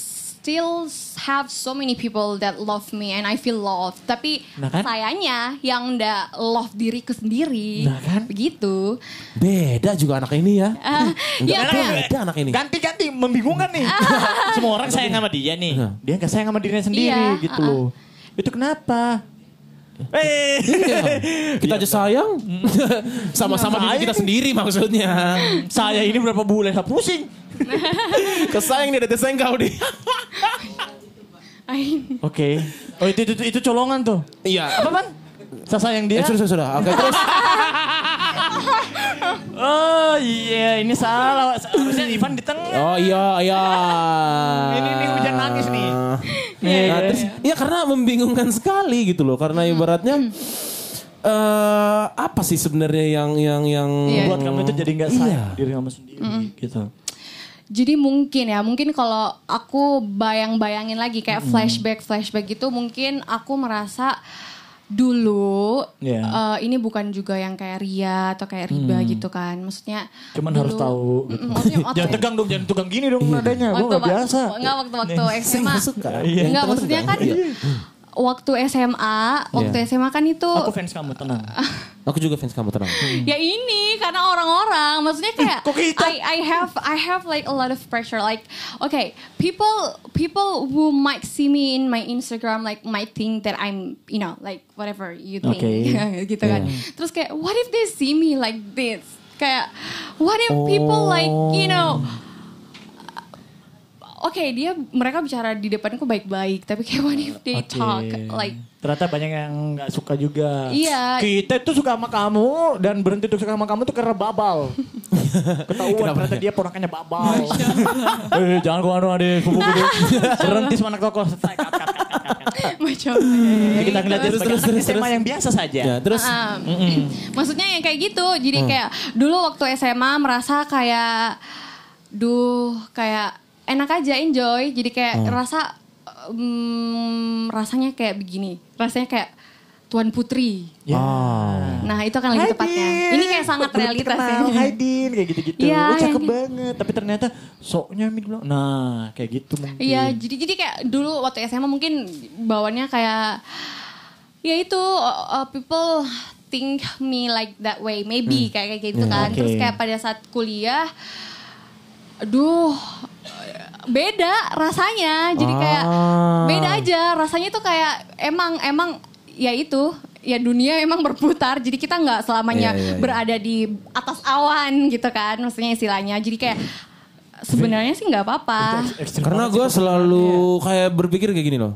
Speaker 5: still have so many people that love me and I feel loved. Tapi
Speaker 4: Nah kan?
Speaker 5: sayangnya yang ndak love diriku sendiri.
Speaker 4: Nah kan? Nah,
Speaker 5: Begitu.
Speaker 3: Beda juga anak ini ya. Enggak,
Speaker 5: Ah,
Speaker 4: kan?
Speaker 5: ya,
Speaker 3: enggak,
Speaker 5: kayak-
Speaker 3: beda anak ini. Iya.
Speaker 4: Ganti-ganti membingungkan nih. Semua orang sayang sama dia nih. Dia nggak sayang sama dirinya sendiri
Speaker 5: Ah. Iya,
Speaker 4: gitu
Speaker 5: uh-uh.
Speaker 4: loh. Itu kenapa? Eh,
Speaker 3: Iya. Kita aja sayang sama-sama
Speaker 4: Iya,
Speaker 3: diri kita
Speaker 4: sayang.
Speaker 3: sendiri maksudnya.
Speaker 4: saya ini berapa bulan saya pusing.
Speaker 3: Kesayang dia ada teseng kau di.
Speaker 5: Ay,
Speaker 4: Oke. Oh itu, itu itu itu colongan tuh.
Speaker 3: Iya.
Speaker 4: Apa kan? Saya sayang
Speaker 3: Eh,
Speaker 4: dia.
Speaker 3: sudah, sudah, sudah. Oke, terus.
Speaker 4: Oh iya, ini salah. Harusnya Ivan di tengah.
Speaker 3: Oh iya, iya.
Speaker 4: Ini nih hujan nangis nih.
Speaker 3: Nah, terus, iya karena membingungkan sekali gitu loh. Karena
Speaker 4: Hmm.
Speaker 3: ibaratnya eh apa sih sebenarnya yang yang yang
Speaker 5: Iya.
Speaker 4: Buat kamu itu jadi nggak sayang
Speaker 3: Iya.
Speaker 4: diri kamu sendiri gitu.
Speaker 5: Jadi mungkin ya, mungkin kalau aku bayang-bayangin lagi kayak flashback-flashback gitu mungkin aku merasa dulu
Speaker 4: Iya.
Speaker 5: eh, ini bukan juga yang kayak ria atau kayak riba gitu kan. Maksudnya
Speaker 4: Mm. Cuman harus
Speaker 5: dulu-
Speaker 4: tahu. Gitu.
Speaker 5: Mm, maksudnya
Speaker 4: jangan
Speaker 5: waktu-
Speaker 4: tegang dong, jangan tegang gini dong
Speaker 3: Iya.
Speaker 4: nadanya. Gue
Speaker 5: Waktu-
Speaker 4: nggak biasa.
Speaker 5: Enggak waktu-waktu
Speaker 3: Saya
Speaker 5: SMA.
Speaker 3: nggak suka.
Speaker 4: Iya.
Speaker 5: Enggak maksudnya kan
Speaker 3: Iya.
Speaker 5: waktu SMA, waktu SMA kan itu
Speaker 4: Aku fans kamu tenang.
Speaker 3: Aku juga fans kamu tenang.
Speaker 5: ya ini karena orang-orang maksudnya kayak
Speaker 4: Hmm. Kok kita?
Speaker 5: I I have I have like a lot of pressure like okay people people who might see me in my Instagram like might think that I'm you know like whatever you think
Speaker 4: Okay.
Speaker 5: gitu kan terus kayak what if they see me like this kayak what if people like you
Speaker 4: Oh.
Speaker 5: know Oke, dia mereka bicara di depanku baik-baik, tapi kayak what if they
Speaker 4: Oke.
Speaker 5: talk like
Speaker 4: ternyata banyak yang nggak suka juga.
Speaker 5: Iya.
Speaker 4: Kita tuh suka sama kamu dan berhenti untuk suka sama kamu tuh karena babal. Ketahuan ternyata dia ponakannya babal. eh, jangan gua anu ada sepupu gede. Berhenti sama anak toko. Strike, cut, cut, cut, cut, cut.
Speaker 5: macam ya,
Speaker 4: Jadi kita ngeliat dia
Speaker 3: Terus, terus,
Speaker 4: sebagai anak
Speaker 3: terus,
Speaker 4: SMA
Speaker 3: terus.
Speaker 4: yang biasa saja.
Speaker 3: Ya, terus
Speaker 5: Ah, Maksudnya yang kayak gitu. Jadi kayak dulu waktu SMA merasa kayak duh kayak enak aja enjoy. Jadi kayak rasa mm, rasanya kayak begini. Rasanya kayak Tuan Putri.
Speaker 4: Ya.
Speaker 3: Oh.
Speaker 5: Nah, itu akan lebih tepatnya. Ini kayak sangat
Speaker 4: Belum
Speaker 5: realitas ya.
Speaker 4: kenal, Hai Din, kayak gitu-gitu.
Speaker 5: Iya,
Speaker 4: Wah, cakep
Speaker 5: yang-
Speaker 4: banget. Tapi ternyata soknya Min bilang, nah kayak gitu mungkin.
Speaker 5: Iya, jadi jadi kayak dulu waktu SMA mungkin bawaannya kayak ya itu uh, uh, people think me like that way maybe kayak kayak gitu kan.
Speaker 4: oke.
Speaker 5: Terus kayak pada saat kuliah aduh beda rasanya. Jadi kayak
Speaker 3: Ah.
Speaker 5: beda aja rasanya tuh kayak emang emang ya itu ya dunia emang berputar jadi kita nggak
Speaker 3: Iya,
Speaker 5: selamanya
Speaker 3: iya, iya.
Speaker 5: berada di atas awan gitu kan maksudnya istilahnya jadi kayak sebenarnya sih nggak apa-apa
Speaker 4: Ekstrim
Speaker 3: Karena
Speaker 4: banget
Speaker 3: gue
Speaker 4: sih.
Speaker 3: selalu
Speaker 4: Iya.
Speaker 3: kayak berpikir kayak gini loh.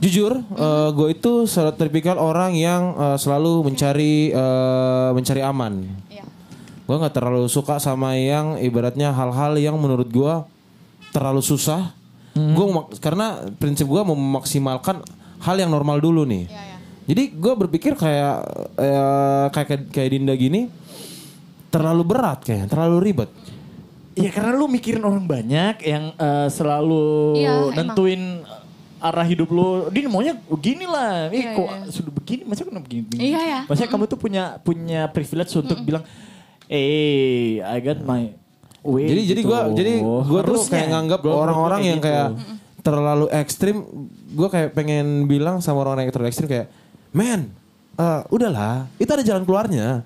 Speaker 3: Jujur, gue itu sel- tipikal orang yang eh, selalu mencari eh, mencari aman.
Speaker 5: Iya.
Speaker 3: Gue nggak terlalu suka sama yang ibaratnya hal-hal yang menurut gue terlalu susah. Gue karena prinsip gue memaksimalkan hal yang normal dulu nih.
Speaker 5: Iya, iya.
Speaker 3: Jadi gue berpikir kayak eh, kayak kayak Dinda gini terlalu berat kayaknya, terlalu ribet.
Speaker 4: Iya karena lu mikirin orang banyak yang eh, selalu
Speaker 5: Iya,
Speaker 4: nentuin eh, arah hidup lu. Din maunya gini lah. Ih
Speaker 5: Iya,
Speaker 4: kok
Speaker 5: iya.
Speaker 4: sudah begini, masa kenapa begini? begini?
Speaker 5: Iya, iya.
Speaker 4: Maksudnya kamu tuh punya punya privilege untuk bilang, "Eh, I got my way."
Speaker 3: Jadi jadi
Speaker 4: gitu.
Speaker 3: gua jadi gua tuh
Speaker 4: Harusnya.
Speaker 3: kayak nganggap
Speaker 4: Gua- gua
Speaker 3: orang-orang yang
Speaker 4: gitu.
Speaker 3: kayak terlalu ekstrim, gua kayak pengen bilang sama orang-orang yang terlalu ekstrim kayak, men, eh, udahlah, itu ada jalan keluarnya,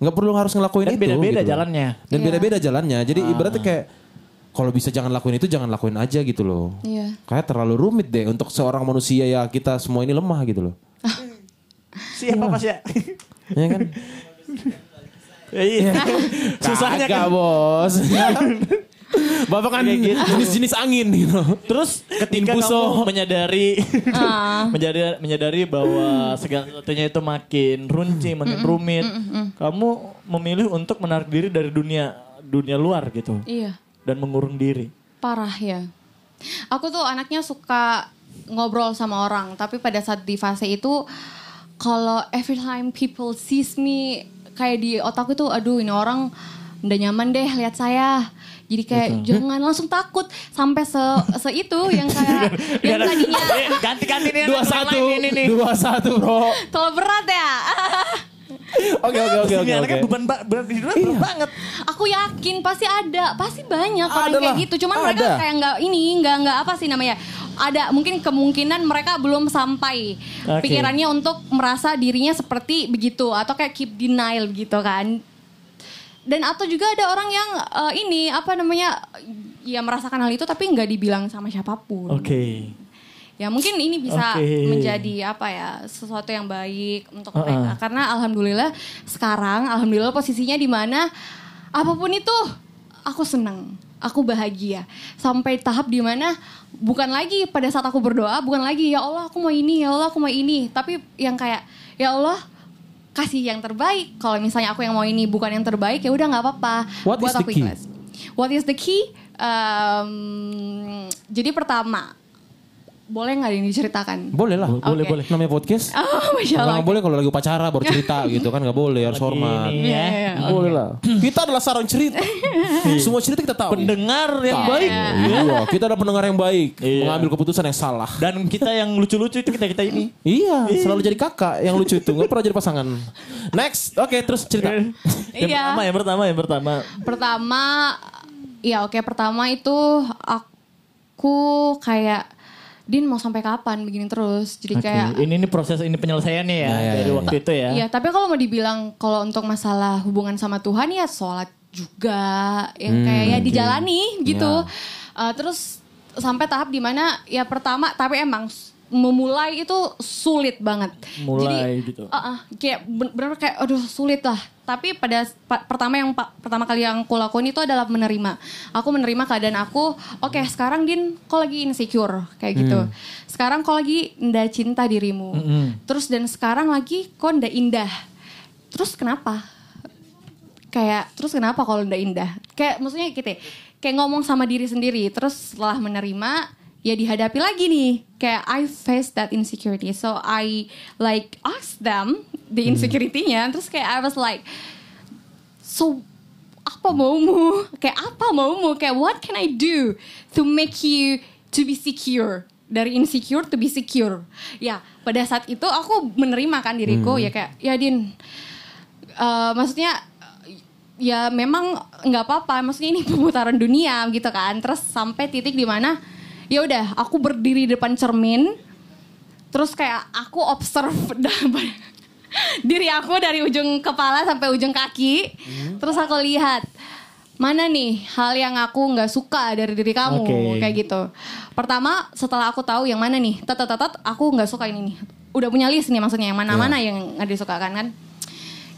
Speaker 3: nggak perlu harus ngelakuin
Speaker 4: dan
Speaker 3: itu.
Speaker 4: beda-beda
Speaker 3: gitu.
Speaker 4: jalannya.
Speaker 3: Dan
Speaker 4: Ah.
Speaker 5: Hmm. Iya.
Speaker 3: beda-beda jalannya. Jadi ibaratnya kayak kalau bisa jangan lakuin itu jangan lakuin aja gitu loh.
Speaker 5: Iya.
Speaker 3: Kayak terlalu rumit deh untuk seorang manusia ya kita semua ini lemah gitu loh.
Speaker 4: Iya. Siapa pas ya?
Speaker 3: Ya kan?
Speaker 4: Iya. Susahnya
Speaker 3: Kagak,
Speaker 4: kan.
Speaker 3: bos. Bapak kan jenis-jenis angin gitu.
Speaker 4: Terus ketika
Speaker 3: Infuso.
Speaker 4: kamu menyadari
Speaker 5: Ah.
Speaker 4: menyadari menyadari bahwa segala sesuatunya itu makin runci, makin rumit, kamu memilih untuk menarik diri dari dunia dunia luar gitu
Speaker 5: Iya,
Speaker 4: dan mengurung diri.
Speaker 5: parah ya. Aku tuh anaknya suka ngobrol sama orang, tapi pada saat di fase itu kalau every time people sees me kayak di otakku tuh aduh ini orang udah nyaman deh lihat saya. Jadi kayak jangan langsung takut sampai se, se itu yang kayak yang tadinya
Speaker 4: Eh, Ganti-ganti nih
Speaker 3: Dua
Speaker 4: anak
Speaker 3: satu,
Speaker 4: orang lain ini nih.
Speaker 3: dua satu bro.
Speaker 5: Kalau berat ya.
Speaker 3: Oke oke oke
Speaker 4: Ini
Speaker 3: oke.
Speaker 4: anaknya
Speaker 3: oke.
Speaker 4: beban kan ba- berat di dunia berat banget.
Speaker 5: Aku yakin pasti ada, pasti banyak orang
Speaker 4: Adalah,
Speaker 5: kayak gitu. Cuman mereka
Speaker 4: Ah, ada.
Speaker 5: kayak nggak ini, nggak nggak apa sih namanya? Ada mungkin kemungkinan mereka belum sampai
Speaker 4: Oke.
Speaker 5: pikirannya untuk merasa dirinya seperti begitu atau kayak keep denial gitu kan. Dan atau juga ada orang yang eh, ini apa namanya ya merasakan hal itu tapi nggak dibilang sama siapapun.
Speaker 4: Oke.
Speaker 5: Ya mungkin ini bisa
Speaker 4: Oke.
Speaker 5: menjadi apa ya sesuatu yang baik untuk
Speaker 4: Uh-uh.
Speaker 5: mereka karena alhamdulillah sekarang alhamdulillah posisinya di mana apapun itu aku senang, aku bahagia sampai tahap di mana bukan lagi pada saat aku berdoa bukan lagi ya Allah aku mau ini ya Allah aku mau ini tapi yang kayak ya Allah kasih yang terbaik kalau misalnya aku yang mau ini bukan yang terbaik ya udah nggak apa-apa
Speaker 3: What
Speaker 5: buat
Speaker 3: is the
Speaker 5: aku
Speaker 3: key?
Speaker 5: ikhlas. What is the key? Um, jadi pertama boleh nggak ini diceritakan?
Speaker 3: Boleh lah.
Speaker 5: Boleh, boleh.
Speaker 3: Namanya podcast.
Speaker 5: Oh,
Speaker 3: Kalau
Speaker 5: masya Allah.
Speaker 3: nggak boleh kalau lagi pacara baru cerita gitu kan nggak boleh harus hormat.
Speaker 4: Ini
Speaker 5: Iya,
Speaker 4: ya.
Speaker 5: iya, iya.
Speaker 3: Boleh lah. Kita adalah sarang cerita. Semua cerita kita tahu.
Speaker 4: Pendengar yang
Speaker 3: Tahu.
Speaker 4: baik
Speaker 3: Iya, kita ada pendengar yang baik,
Speaker 4: Iya.
Speaker 3: mengambil keputusan yang salah.
Speaker 4: dan kita yang lucu-lucu itu kita kita ini.
Speaker 3: Iya, selalu jadi kakak yang lucu itu, nggak pernah jadi pasangan. Next, oke terus cerita.
Speaker 4: yang
Speaker 5: Iya.
Speaker 4: pertama, yang pertama, yang pertama.
Speaker 5: Pertama, ya oke pertama itu aku kayak Din mau sampai kapan begini terus? Jadi
Speaker 4: Oke,
Speaker 5: kayak
Speaker 4: ini ini proses ini penyelesaiannya ya
Speaker 3: Ya, ya,
Speaker 4: dari
Speaker 3: ya.
Speaker 4: waktu itu ya.
Speaker 5: Iya, tapi kalau mau dibilang kalau untuk masalah hubungan sama Tuhan ya sholat juga yang kayak ya dijalani gitu. Uh, terus sampai tahap dimana ya pertama tapi emang s- memulai itu sulit banget.
Speaker 4: Mulai
Speaker 5: Jadi,
Speaker 4: gitu.
Speaker 5: uh-uh, kayak benar kayak aduh sulit lah. Tapi pada s- pa- pertama yang pa- pertama kali yang aku lakuin itu adalah menerima. Aku menerima keadaan aku. Oke,
Speaker 4: Hmm.
Speaker 5: sekarang Din, kau lagi insecure kayak gitu. Sekarang kau lagi nda cinta dirimu. Terus dan sekarang lagi kau nda indah. Terus kenapa? Kayak terus kenapa kalau nda indah? Kayak maksudnya gitu. ya, Kayak ngomong sama diri sendiri. Terus setelah menerima ya dihadapi lagi nih kayak I face that insecurity so I like ask them the insecurity-nya terus kayak I was like so apa maumu kayak apa maumu kayak what can I do to make you to be secure dari insecure to be secure ya pada saat itu aku menerima kan diriku ya kayak ya din eh, maksudnya eh, ya memang nggak apa-apa maksudnya ini pemutaran dunia gitu kan terus sampai titik di mana ya udah aku berdiri di depan cermin terus kayak aku observe dalam- diri aku dari ujung kepala sampai ujung kaki
Speaker 4: Hmm.
Speaker 5: terus aku lihat mana nih hal yang aku nggak suka dari diri kamu
Speaker 4: Oke.
Speaker 5: kayak gitu pertama setelah aku tahu yang mana nih tet tet, tet, tet, aku nggak suka ini nih udah punya list nih maksudnya yang mana mana
Speaker 4: Ya.
Speaker 5: yang nggak disukakan kan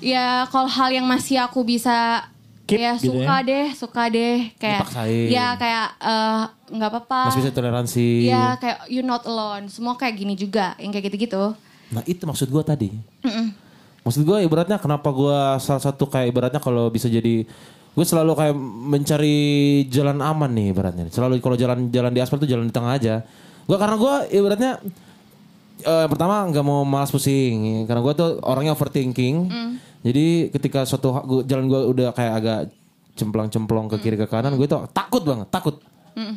Speaker 5: ya kalau hal yang masih aku bisa
Speaker 4: Keep
Speaker 5: ya
Speaker 4: gitu
Speaker 5: suka
Speaker 4: ya.
Speaker 5: deh suka deh kayak
Speaker 3: Dipaksain.
Speaker 5: ya kayak eh, nggak apa-apa
Speaker 3: Masih bisa toleransi.
Speaker 5: Iya kayak you're not alone. Semua kayak gini juga yang kayak gitu-gitu.
Speaker 3: Nah itu maksud gue tadi. Maksud gue ibaratnya kenapa gue salah satu kayak ibaratnya kalau bisa jadi gue selalu kayak mencari jalan aman nih ibaratnya. Selalu kalau jalan-jalan di aspal tuh jalan di tengah aja. Gue karena gue ibaratnya eh, pertama nggak mau malas pusing karena gue tuh orangnya overthinking. Jadi ketika suatu ha- gua- jalan gue udah kayak agak cemplang-cemplong ke kiri ke kanan, gue tuh takut banget, takut.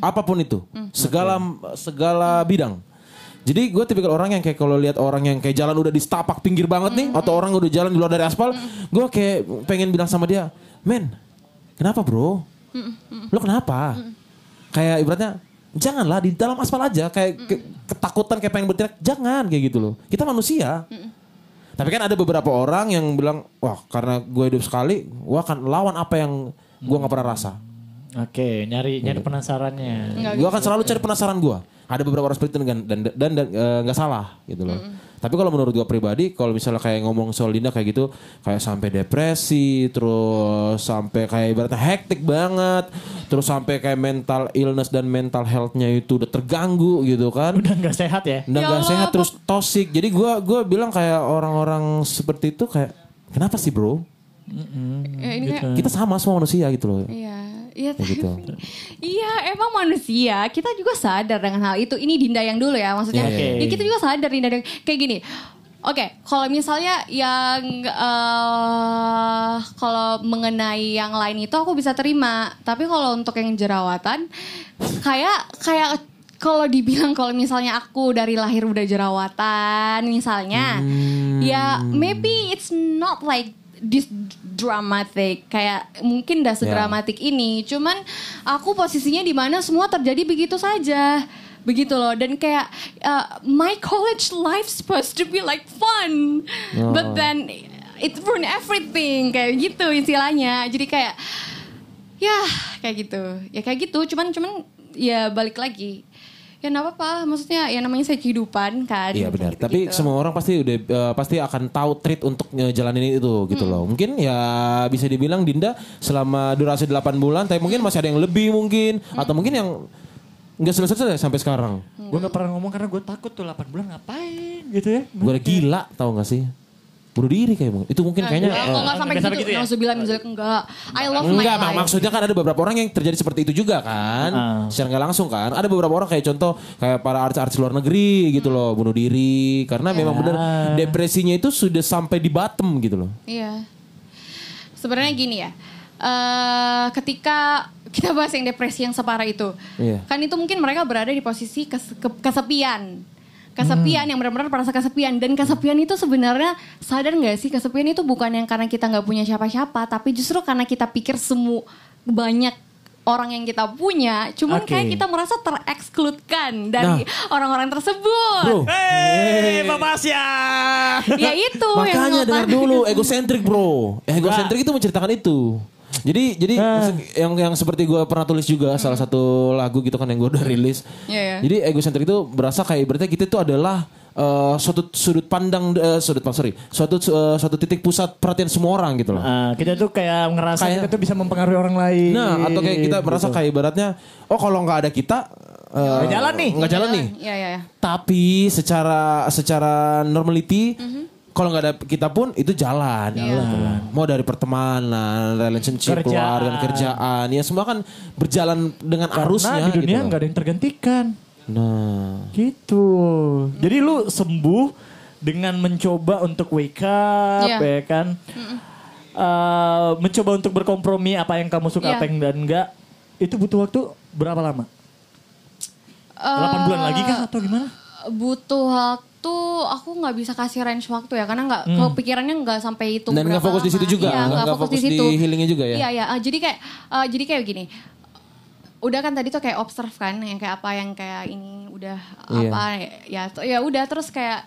Speaker 3: Apapun itu, segala segala bidang. Jadi gue tipikal orang yang kayak kalau lihat orang yang kayak jalan udah di setapak pinggir banget nih atau orang udah jalan di luar dari aspal, gue kayak pengen bilang sama dia, "Men, kenapa, Bro? Lo kenapa?" Kayak ibaratnya janganlah di dalam aspal aja kayak ke- ketakutan kayak pengen berteriak, jangan kayak gitu loh. Kita manusia. Tapi kan ada beberapa orang yang bilang, "Wah, karena gue hidup sekali, gue akan lawan apa yang gue nggak pernah rasa."
Speaker 4: Oke, nyari nyari penasarannya.
Speaker 5: Nggak
Speaker 3: Gue akan selalu cari penasaran gue. Ada beberapa orang seperti itu dan dan dan dan, eh, nggak salah gitu loh. Tapi kalau menurut gua pribadi, kalau misalnya kayak ngomong soal Dinda kayak gitu, kayak sampai depresi, terus sampai kayak ibaratnya hektik banget, terus sampai kayak mental illness dan mental health-nya itu udah terganggu gitu kan.
Speaker 4: Udah nggak sehat ya?
Speaker 3: Udah
Speaker 5: Ya
Speaker 3: nggak
Speaker 5: Allah,
Speaker 3: sehat
Speaker 5: apa-
Speaker 3: terus toxic. Jadi gua gua bilang kayak orang-orang seperti itu kayak kenapa sih, Bro?
Speaker 5: Ya, ini kayak
Speaker 3: Kita sama semua manusia gitu loh.
Speaker 5: Iya,
Speaker 3: Ya
Speaker 5: iya
Speaker 3: gitu.
Speaker 5: tapi- Iya, emang manusia kita juga sadar dengan hal itu. Ini Dinda yang dulu ya, maksudnya.
Speaker 4: Iya, iya,
Speaker 5: Ya,
Speaker 4: iya.
Speaker 5: kita juga sadar Dinda dengan- kayak gini. Oke, kalau misalnya yang eh kalau mengenai yang lain itu aku bisa terima, tapi kalau untuk yang jerawatan kayak kayak kalau dibilang kalau misalnya aku dari lahir udah jerawatan misalnya,
Speaker 4: Hmm.
Speaker 5: ya maybe it's not like this dramatic kayak mungkin udah
Speaker 3: Ya.
Speaker 5: sedramatik dramatik ini. Cuman aku posisinya di mana semua terjadi begitu saja. Begitu loh dan kayak uh, my college life supposed to be like fun.
Speaker 3: Oh.
Speaker 5: But then it ruin everything kayak gitu istilahnya. Jadi kayak ya kayak gitu. Ya kayak gitu. Cuman cuman ya balik lagi. Ya nggak apa-apa, maksudnya ya namanya saya kehidupan kan.
Speaker 3: Iya benar. Tapi
Speaker 5: Gitu-gitu.
Speaker 3: semua orang pasti udah eh, pasti akan tahu treat untuk ngejalanin itu gitu loh. Mungkin ya bisa dibilang Dinda selama durasi 8 bulan, tapi mungkin masih ada yang lebih mungkin atau mungkin yang nggak selesai-selesai sampai sekarang.
Speaker 4: Gue nggak pernah ngomong karena gue takut tuh 8 bulan ngapain gitu ya?
Speaker 3: Gue udah gila tau gak sih? Bunuh diri kayak mungkin. Itu mungkin kayaknya
Speaker 5: Enggak, kalau
Speaker 3: eh,
Speaker 5: nggak sampai
Speaker 4: Nggak
Speaker 5: gitu,
Speaker 4: sampai gitu ya?
Speaker 5: nauzubillah min dzalik, enggak. I love Oh my
Speaker 3: Enggak, mak
Speaker 5: life.
Speaker 3: maksudnya kan ada beberapa orang yang terjadi seperti itu juga kan.
Speaker 4: Ah.
Speaker 3: Secara nggak langsung kan. Ada beberapa orang kayak contoh kayak para artis-artis luar negeri gitu loh, bunuh diri karena memang benar depresinya itu sudah sampai di bottom gitu loh.
Speaker 5: Iya. Sebenarnya gini ya. eh ketika kita bahas yang depresi yang separah itu,
Speaker 3: Iya.
Speaker 5: kan itu mungkin mereka berada di posisi kes- ke- kesepian, kesepian
Speaker 3: Hmm.
Speaker 5: yang benar-benar merasa kesepian dan kesepian itu sebenarnya sadar nggak sih kesepian itu bukan yang karena kita nggak punya siapa-siapa, tapi justru karena kita pikir semua banyak orang yang kita punya, cuman
Speaker 4: Oke.
Speaker 5: kayak kita merasa terekskludkan dari orang-orang tersebut.
Speaker 3: Nah. Bro,
Speaker 4: Hei, Bapak Asya.
Speaker 5: Ya itu yang
Speaker 3: Makanya dengar
Speaker 5: ngotak-
Speaker 3: dulu egocentrik bro. Egocentrik itu menceritakan itu. Jadi jadi
Speaker 4: Nah.
Speaker 3: yang yang seperti gue pernah tulis juga salah satu lagu gitu kan yang gue udah rilis.
Speaker 5: Hmm. Iya, iya.
Speaker 3: Jadi egocentrik itu berasa kayak berarti kita itu adalah eh, suatu sudut pandang eh, sudut pandang sorry suatu eh, suatu titik pusat perhatian semua orang gitu loh.
Speaker 4: Ah, kita tuh kayak ngerasa
Speaker 3: Kayak-
Speaker 4: kita tuh bisa mempengaruhi orang lain.
Speaker 3: Nah atau kayak kita merasa
Speaker 4: Gitu.
Speaker 3: kayak ibaratnya oh kalau nggak ada kita eh,
Speaker 4: Nggak jalan nih.
Speaker 3: nggak jalan nih.
Speaker 5: Iya, iya, iya.
Speaker 3: Tapi secara secara normality kalau nggak ada kita pun itu jalan. Gitu loh. Mau dari pertemanan, relationship,
Speaker 4: Iya. Kerjaan.
Speaker 3: keluarga, kerjaan, ya semua kan berjalan dengan arusnya
Speaker 4: Karena di dunia
Speaker 3: gitu loh.
Speaker 4: nggak ada yang tergantikan.
Speaker 3: Nah,
Speaker 4: Gitu. Jadi lu sembuh dengan mencoba untuk wake up
Speaker 5: Iya.
Speaker 4: ya kan. Eh, mencoba untuk berkompromi apa yang kamu suka
Speaker 5: Iya.
Speaker 4: apa yang dan enggak. Itu butuh waktu berapa lama?
Speaker 5: Eh,
Speaker 4: 8 bulan lagi kah atau gimana?
Speaker 5: butuh waktu aku nggak bisa kasih range waktu ya karena nggak kepikirannya nggak sampai itu
Speaker 3: Hmm. Dan nggak fokus di situ juga,
Speaker 5: iya, nggak fokus, di situ
Speaker 3: healingnya juga ya?
Speaker 5: iya iya Ah, jadi kayak ah, jadi kayak gini udah kan tadi tuh kayak observe kan yang kayak apa yang kayak ini udah
Speaker 3: Iya.
Speaker 5: apa ya ya- ya udah terus kayak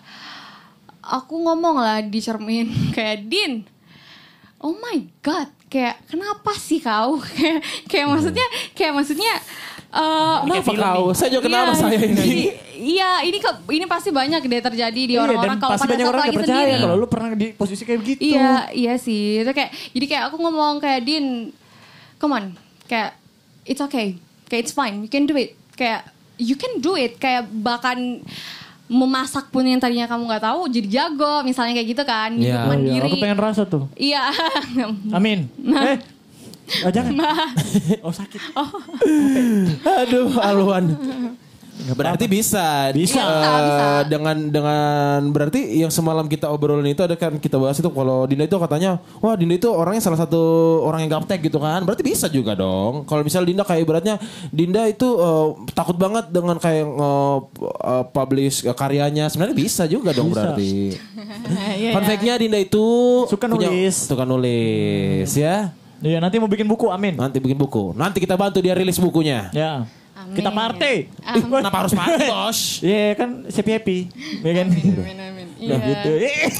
Speaker 5: aku ngomong lah di cermin kayak Din oh my god kayak kenapa sih kau kayak kayak maksudnya kayak maksudnya eh,
Speaker 3: Iya. kenapa kau? Saya juga kenapa
Speaker 5: Iya,
Speaker 3: saya
Speaker 5: jadi-
Speaker 3: ini?
Speaker 5: Iya, ini ke, ini pasti banyak deh terjadi di
Speaker 4: Iya,
Speaker 5: orang-orang
Speaker 4: dan
Speaker 5: kalau
Speaker 4: pasti
Speaker 5: pada
Speaker 4: banyak
Speaker 5: saat
Speaker 4: orang
Speaker 5: lagi
Speaker 4: yang percaya
Speaker 5: sendiri.
Speaker 4: kalau gitu. lu pernah di posisi kayak begitu. Oh,
Speaker 5: Iya, iya sih. Itu kayak jadi kayak aku ngomong kayak Din, come on, kayak it's okay, kayak it's fine, you can do it, kayak you can do it, kayak bahkan memasak pun yang tadinya kamu nggak tahu jadi jago, misalnya kayak gitu kan,
Speaker 3: Iya.
Speaker 5: hidup
Speaker 4: Oh, iya.
Speaker 5: mandiri. Nah.
Speaker 4: Aku pengen rasa tuh.
Speaker 5: Iya,
Speaker 4: Amin. Eh. Oh, jangan.
Speaker 5: Nah.
Speaker 4: Oh sakit.
Speaker 3: aduh Alwan. Berarti bisa,
Speaker 4: Bisa.
Speaker 3: Eh,
Speaker 5: Bisa, bisa.
Speaker 3: dengan dengan berarti yang semalam kita obrolin itu ada kan kita bahas itu kalau Dinda itu katanya, wah Dinda itu orangnya salah satu orang yang gaptek gitu kan, berarti bisa juga dong. Kalau misalnya Dinda kayak ibaratnya Dinda itu eh, takut banget dengan kayak eh, eh, publish eh, karyanya, sebenarnya bisa juga dong
Speaker 4: Bisa.
Speaker 3: berarti.
Speaker 5: Iya,
Speaker 3: Fun fact-nya Dinda itu
Speaker 4: Suka
Speaker 3: punya-
Speaker 4: nulis.
Speaker 3: suka nulis ya.
Speaker 4: Iya nanti mau bikin buku, amin.
Speaker 3: Nanti bikin buku, nanti kita bantu dia rilis bukunya.
Speaker 4: Ya.
Speaker 5: Amin.
Speaker 4: Kita party.
Speaker 5: Amin.
Speaker 3: Kenapa harus mati bos?
Speaker 4: Iya kan happy happy, ya kan?
Speaker 5: amin, amin, amin. Iya.
Speaker 4: gitu.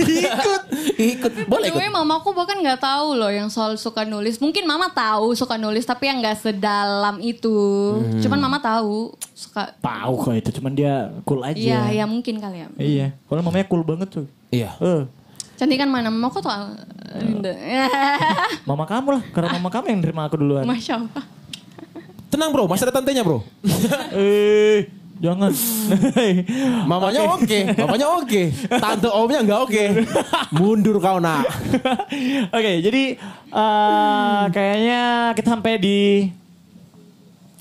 Speaker 4: Ikut.
Speaker 3: Ikut. Boleh ikut.
Speaker 5: Gue mamaku bahkan nggak tahu loh yang soal suka nulis. Mungkin mama tahu suka nulis tapi yang nggak sedalam itu. Cuman mama tahu suka.
Speaker 4: Tahu kok itu, cuman dia cool aja.
Speaker 5: Iya, ya mungkin kali ya.
Speaker 4: Iya. Kalau mamanya cool banget tuh.
Speaker 3: Iya.
Speaker 4: Eh,
Speaker 5: Cantikan kan, mana mama kok tuh Linda.
Speaker 4: mama kamu lah, karena mama kamu yang nerima aku duluan.
Speaker 5: Masya Allah.
Speaker 3: Tenang bro, masih ada tantenya bro.
Speaker 4: eh, jangan.
Speaker 3: Mamanya Nah, oke, mamanya oke. Tante omnya nggak oke. Mundur kau nak.
Speaker 4: Oke, jadi eh, kayaknya kita sampai di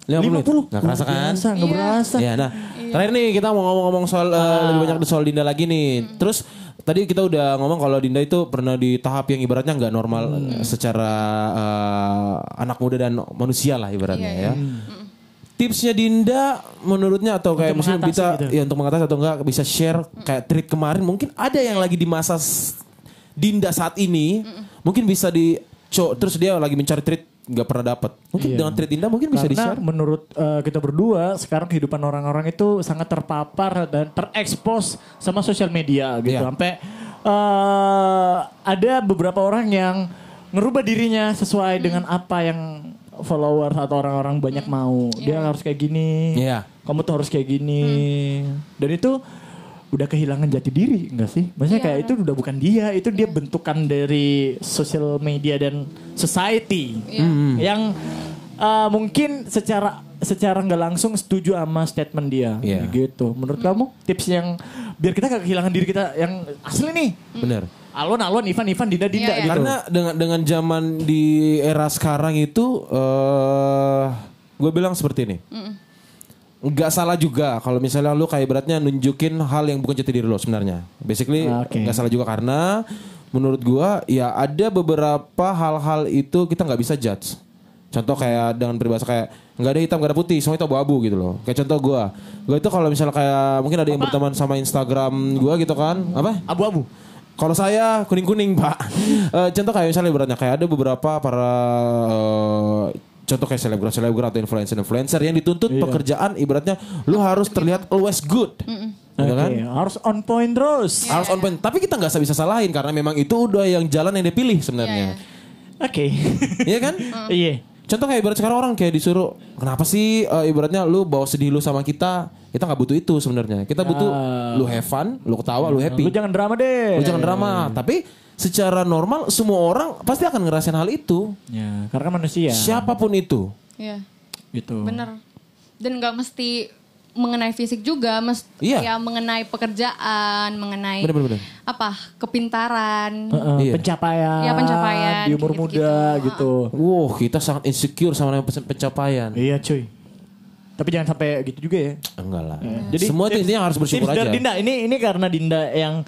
Speaker 4: 50.
Speaker 3: Nggak kerasa kan?
Speaker 4: Nggak berasa, nggak
Speaker 5: Iya.
Speaker 4: berasa.
Speaker 3: Iya, nah terakhir nih kita mau ngomong-ngomong soal eh,
Speaker 4: Ah.
Speaker 3: lebih banyak soal Dinda lagi
Speaker 4: Hmm.
Speaker 3: nih. Terus tadi kita udah ngomong kalau Dinda itu pernah di tahap yang ibaratnya nggak normal
Speaker 4: Hmm.
Speaker 3: eh, secara eh, anak muda dan manusia lah ibaratnya
Speaker 4: Iya,
Speaker 3: ya. Tipsnya Dinda menurutnya atau kayak
Speaker 4: Hmm. Untuk
Speaker 3: mungkin
Speaker 4: mengatasi
Speaker 3: bisa
Speaker 4: gitu. Hmm.
Speaker 3: ya untuk mengatasi atau enggak bisa share kayak treat kemarin mungkin ada yang lagi di masa s- Dinda saat ini
Speaker 4: Hmm.
Speaker 3: mungkin bisa di co- terus dia lagi mencari treat nggak pernah dapat. Mungkin
Speaker 4: Iya.
Speaker 3: dengan treat Dinda mungkin bisa
Speaker 4: Karena
Speaker 3: di-share.
Speaker 4: menurut eh, kita berdua sekarang kehidupan orang-orang itu sangat terpapar dan terekspos sama sosial media
Speaker 3: Iya.
Speaker 4: gitu sampai eh, ada beberapa orang yang ngerubah dirinya sesuai dengan apa yang followers atau orang-orang banyak mau dia harus kayak gini
Speaker 3: Iya.
Speaker 4: kamu tuh harus kayak gini
Speaker 5: Hmm.
Speaker 4: dan itu udah kehilangan jati diri enggak sih
Speaker 5: Iya.
Speaker 4: maksudnya kayak itu udah bukan dia itu dia bentukan dari sosial media dan society
Speaker 5: Iya.
Speaker 3: Hmm.
Speaker 4: yang uh, mungkin secara secara nggak langsung setuju sama statement dia
Speaker 3: Iya.
Speaker 4: gitu menurut
Speaker 5: Hmm.
Speaker 4: kamu tips yang biar kita gak kehilangan diri kita yang asli nih
Speaker 3: Bener.
Speaker 4: alon alon Ivan Ivan Dinda Dinda
Speaker 5: Iya, iya.
Speaker 4: gitu
Speaker 3: Karena dengan dengan zaman di era sekarang itu eh gue bilang seperti ini. Nggak salah juga kalau misalnya lu kayak beratnya nunjukin hal yang bukan jati diri lo sebenarnya. Basically
Speaker 4: Ah, Oke.
Speaker 3: nggak salah juga karena menurut gua ya ada beberapa hal-hal itu kita nggak bisa judge. Contoh kayak dengan peribahasa kayak nggak ada hitam nggak ada putih semua itu abu-abu gitu loh. Kayak contoh gua, gua itu kalau misalnya kayak mungkin ada yang berteman sama Instagram gua gitu kan apa?
Speaker 4: abu-abu
Speaker 3: Kalau saya kuning-kuning pak. Eh, contoh kayak misalnya ibaratnya kayak ada beberapa para eh, contoh kayak selebgram selebgram atau influencer influencer yang dituntut pekerjaan ibaratnya lu harus terlihat always good, Gitu kan?
Speaker 4: Oke, harus on point terus
Speaker 3: Harus on point. Tapi kita nggak bisa salahin karena memang itu udah yang jalan yang dipilih sebenarnya,
Speaker 4: oke
Speaker 3: iya kan?
Speaker 4: iya
Speaker 3: Contoh kayak ibarat sekarang orang kayak disuruh kenapa sih eh, ibaratnya lu bawa sedih lu sama kita kita nggak butuh itu sebenarnya kita butuh lu have fun lu ketawa lu happy
Speaker 4: Ya. lu jangan drama deh
Speaker 3: Lu jangan drama. Tapi secara normal semua orang pasti akan ngerasain hal itu.
Speaker 4: ya karena kan manusia
Speaker 3: Siapapun itu.
Speaker 5: Iya,
Speaker 4: gitu
Speaker 5: bener. Dan nggak mesti mengenai fisik juga, mesti
Speaker 3: Iya.
Speaker 5: ya mengenai pekerjaan, mengenai
Speaker 3: Bener, bener, bener.
Speaker 5: apa kepintaran.
Speaker 4: Heeh,
Speaker 3: Iya.
Speaker 4: pencapaian,
Speaker 5: Iya, pencapaian,
Speaker 4: di umur
Speaker 5: kayak
Speaker 4: muda
Speaker 5: gitu-gitu.
Speaker 4: gitu.
Speaker 3: Wow, kita sangat insecure sama namanya pes- pencapaian.
Speaker 4: Iya cuy. Tapi jangan sampai gitu juga ya.
Speaker 3: Enggak lah. Jadi semua itu
Speaker 4: tips-
Speaker 3: intinya harus bersyukur
Speaker 4: tips dari
Speaker 3: aja.
Speaker 4: Dinda ini ini karena Dinda yang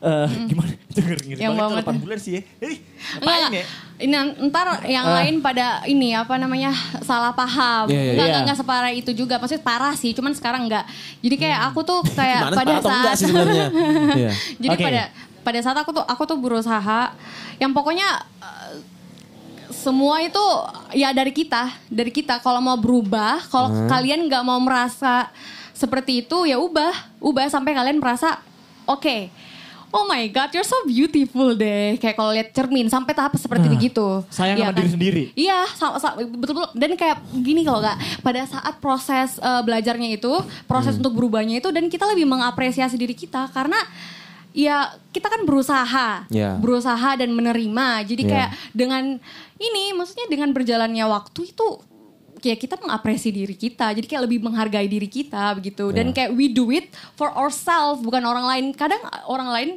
Speaker 4: eh, gimana? Itu ngeri ngeri
Speaker 5: Yang
Speaker 4: banget
Speaker 5: banget.
Speaker 4: 8 bulan sih ya. Eh,
Speaker 5: Enggak,
Speaker 4: apain ya?
Speaker 5: ini nan- ntar yang lain pada ini apa namanya salah paham.
Speaker 3: Ah. Iya, iya,
Speaker 4: iya.
Speaker 5: enggak, enggak, enggak separah itu juga. Maksudnya parah sih, cuman sekarang enggak. Jadi kayak aku tuh kayak
Speaker 3: Hmm. Gimana
Speaker 5: pada
Speaker 3: separah atau enggak
Speaker 5: saat
Speaker 3: sih sebenarnya? Iya.
Speaker 5: Jadi
Speaker 4: Oke.
Speaker 5: pada pada saat aku tuh aku tuh berusaha yang pokoknya eh, semua itu ya dari kita, dari kita kalau mau berubah, kalau kalian nggak mau merasa seperti itu ya ubah, ubah sampai kalian merasa oke. Oh my god, you're so beautiful deh. Kayak kalau lihat cermin sampai tahap seperti begitu.
Speaker 4: Nah, sayang
Speaker 5: Iya
Speaker 4: sama diri sendiri.
Speaker 5: Iya, sa- sa- betul-betul. Dan kayak gini kalau nggak pada saat proses eh, belajarnya itu, proses
Speaker 4: Hmm.
Speaker 5: untuk berubahnya itu, dan kita lebih mengapresiasi diri kita karena ya kita kan berusaha,
Speaker 3: Ya.
Speaker 5: berusaha dan menerima.
Speaker 3: Ya.
Speaker 5: Jadi kayak dengan ini, maksudnya dengan berjalannya waktu itu kayak kita mengapresi diri kita jadi kayak lebih menghargai diri kita begitu
Speaker 3: Iya.
Speaker 5: dan kayak we do it for ourselves bukan orang lain kadang orang lain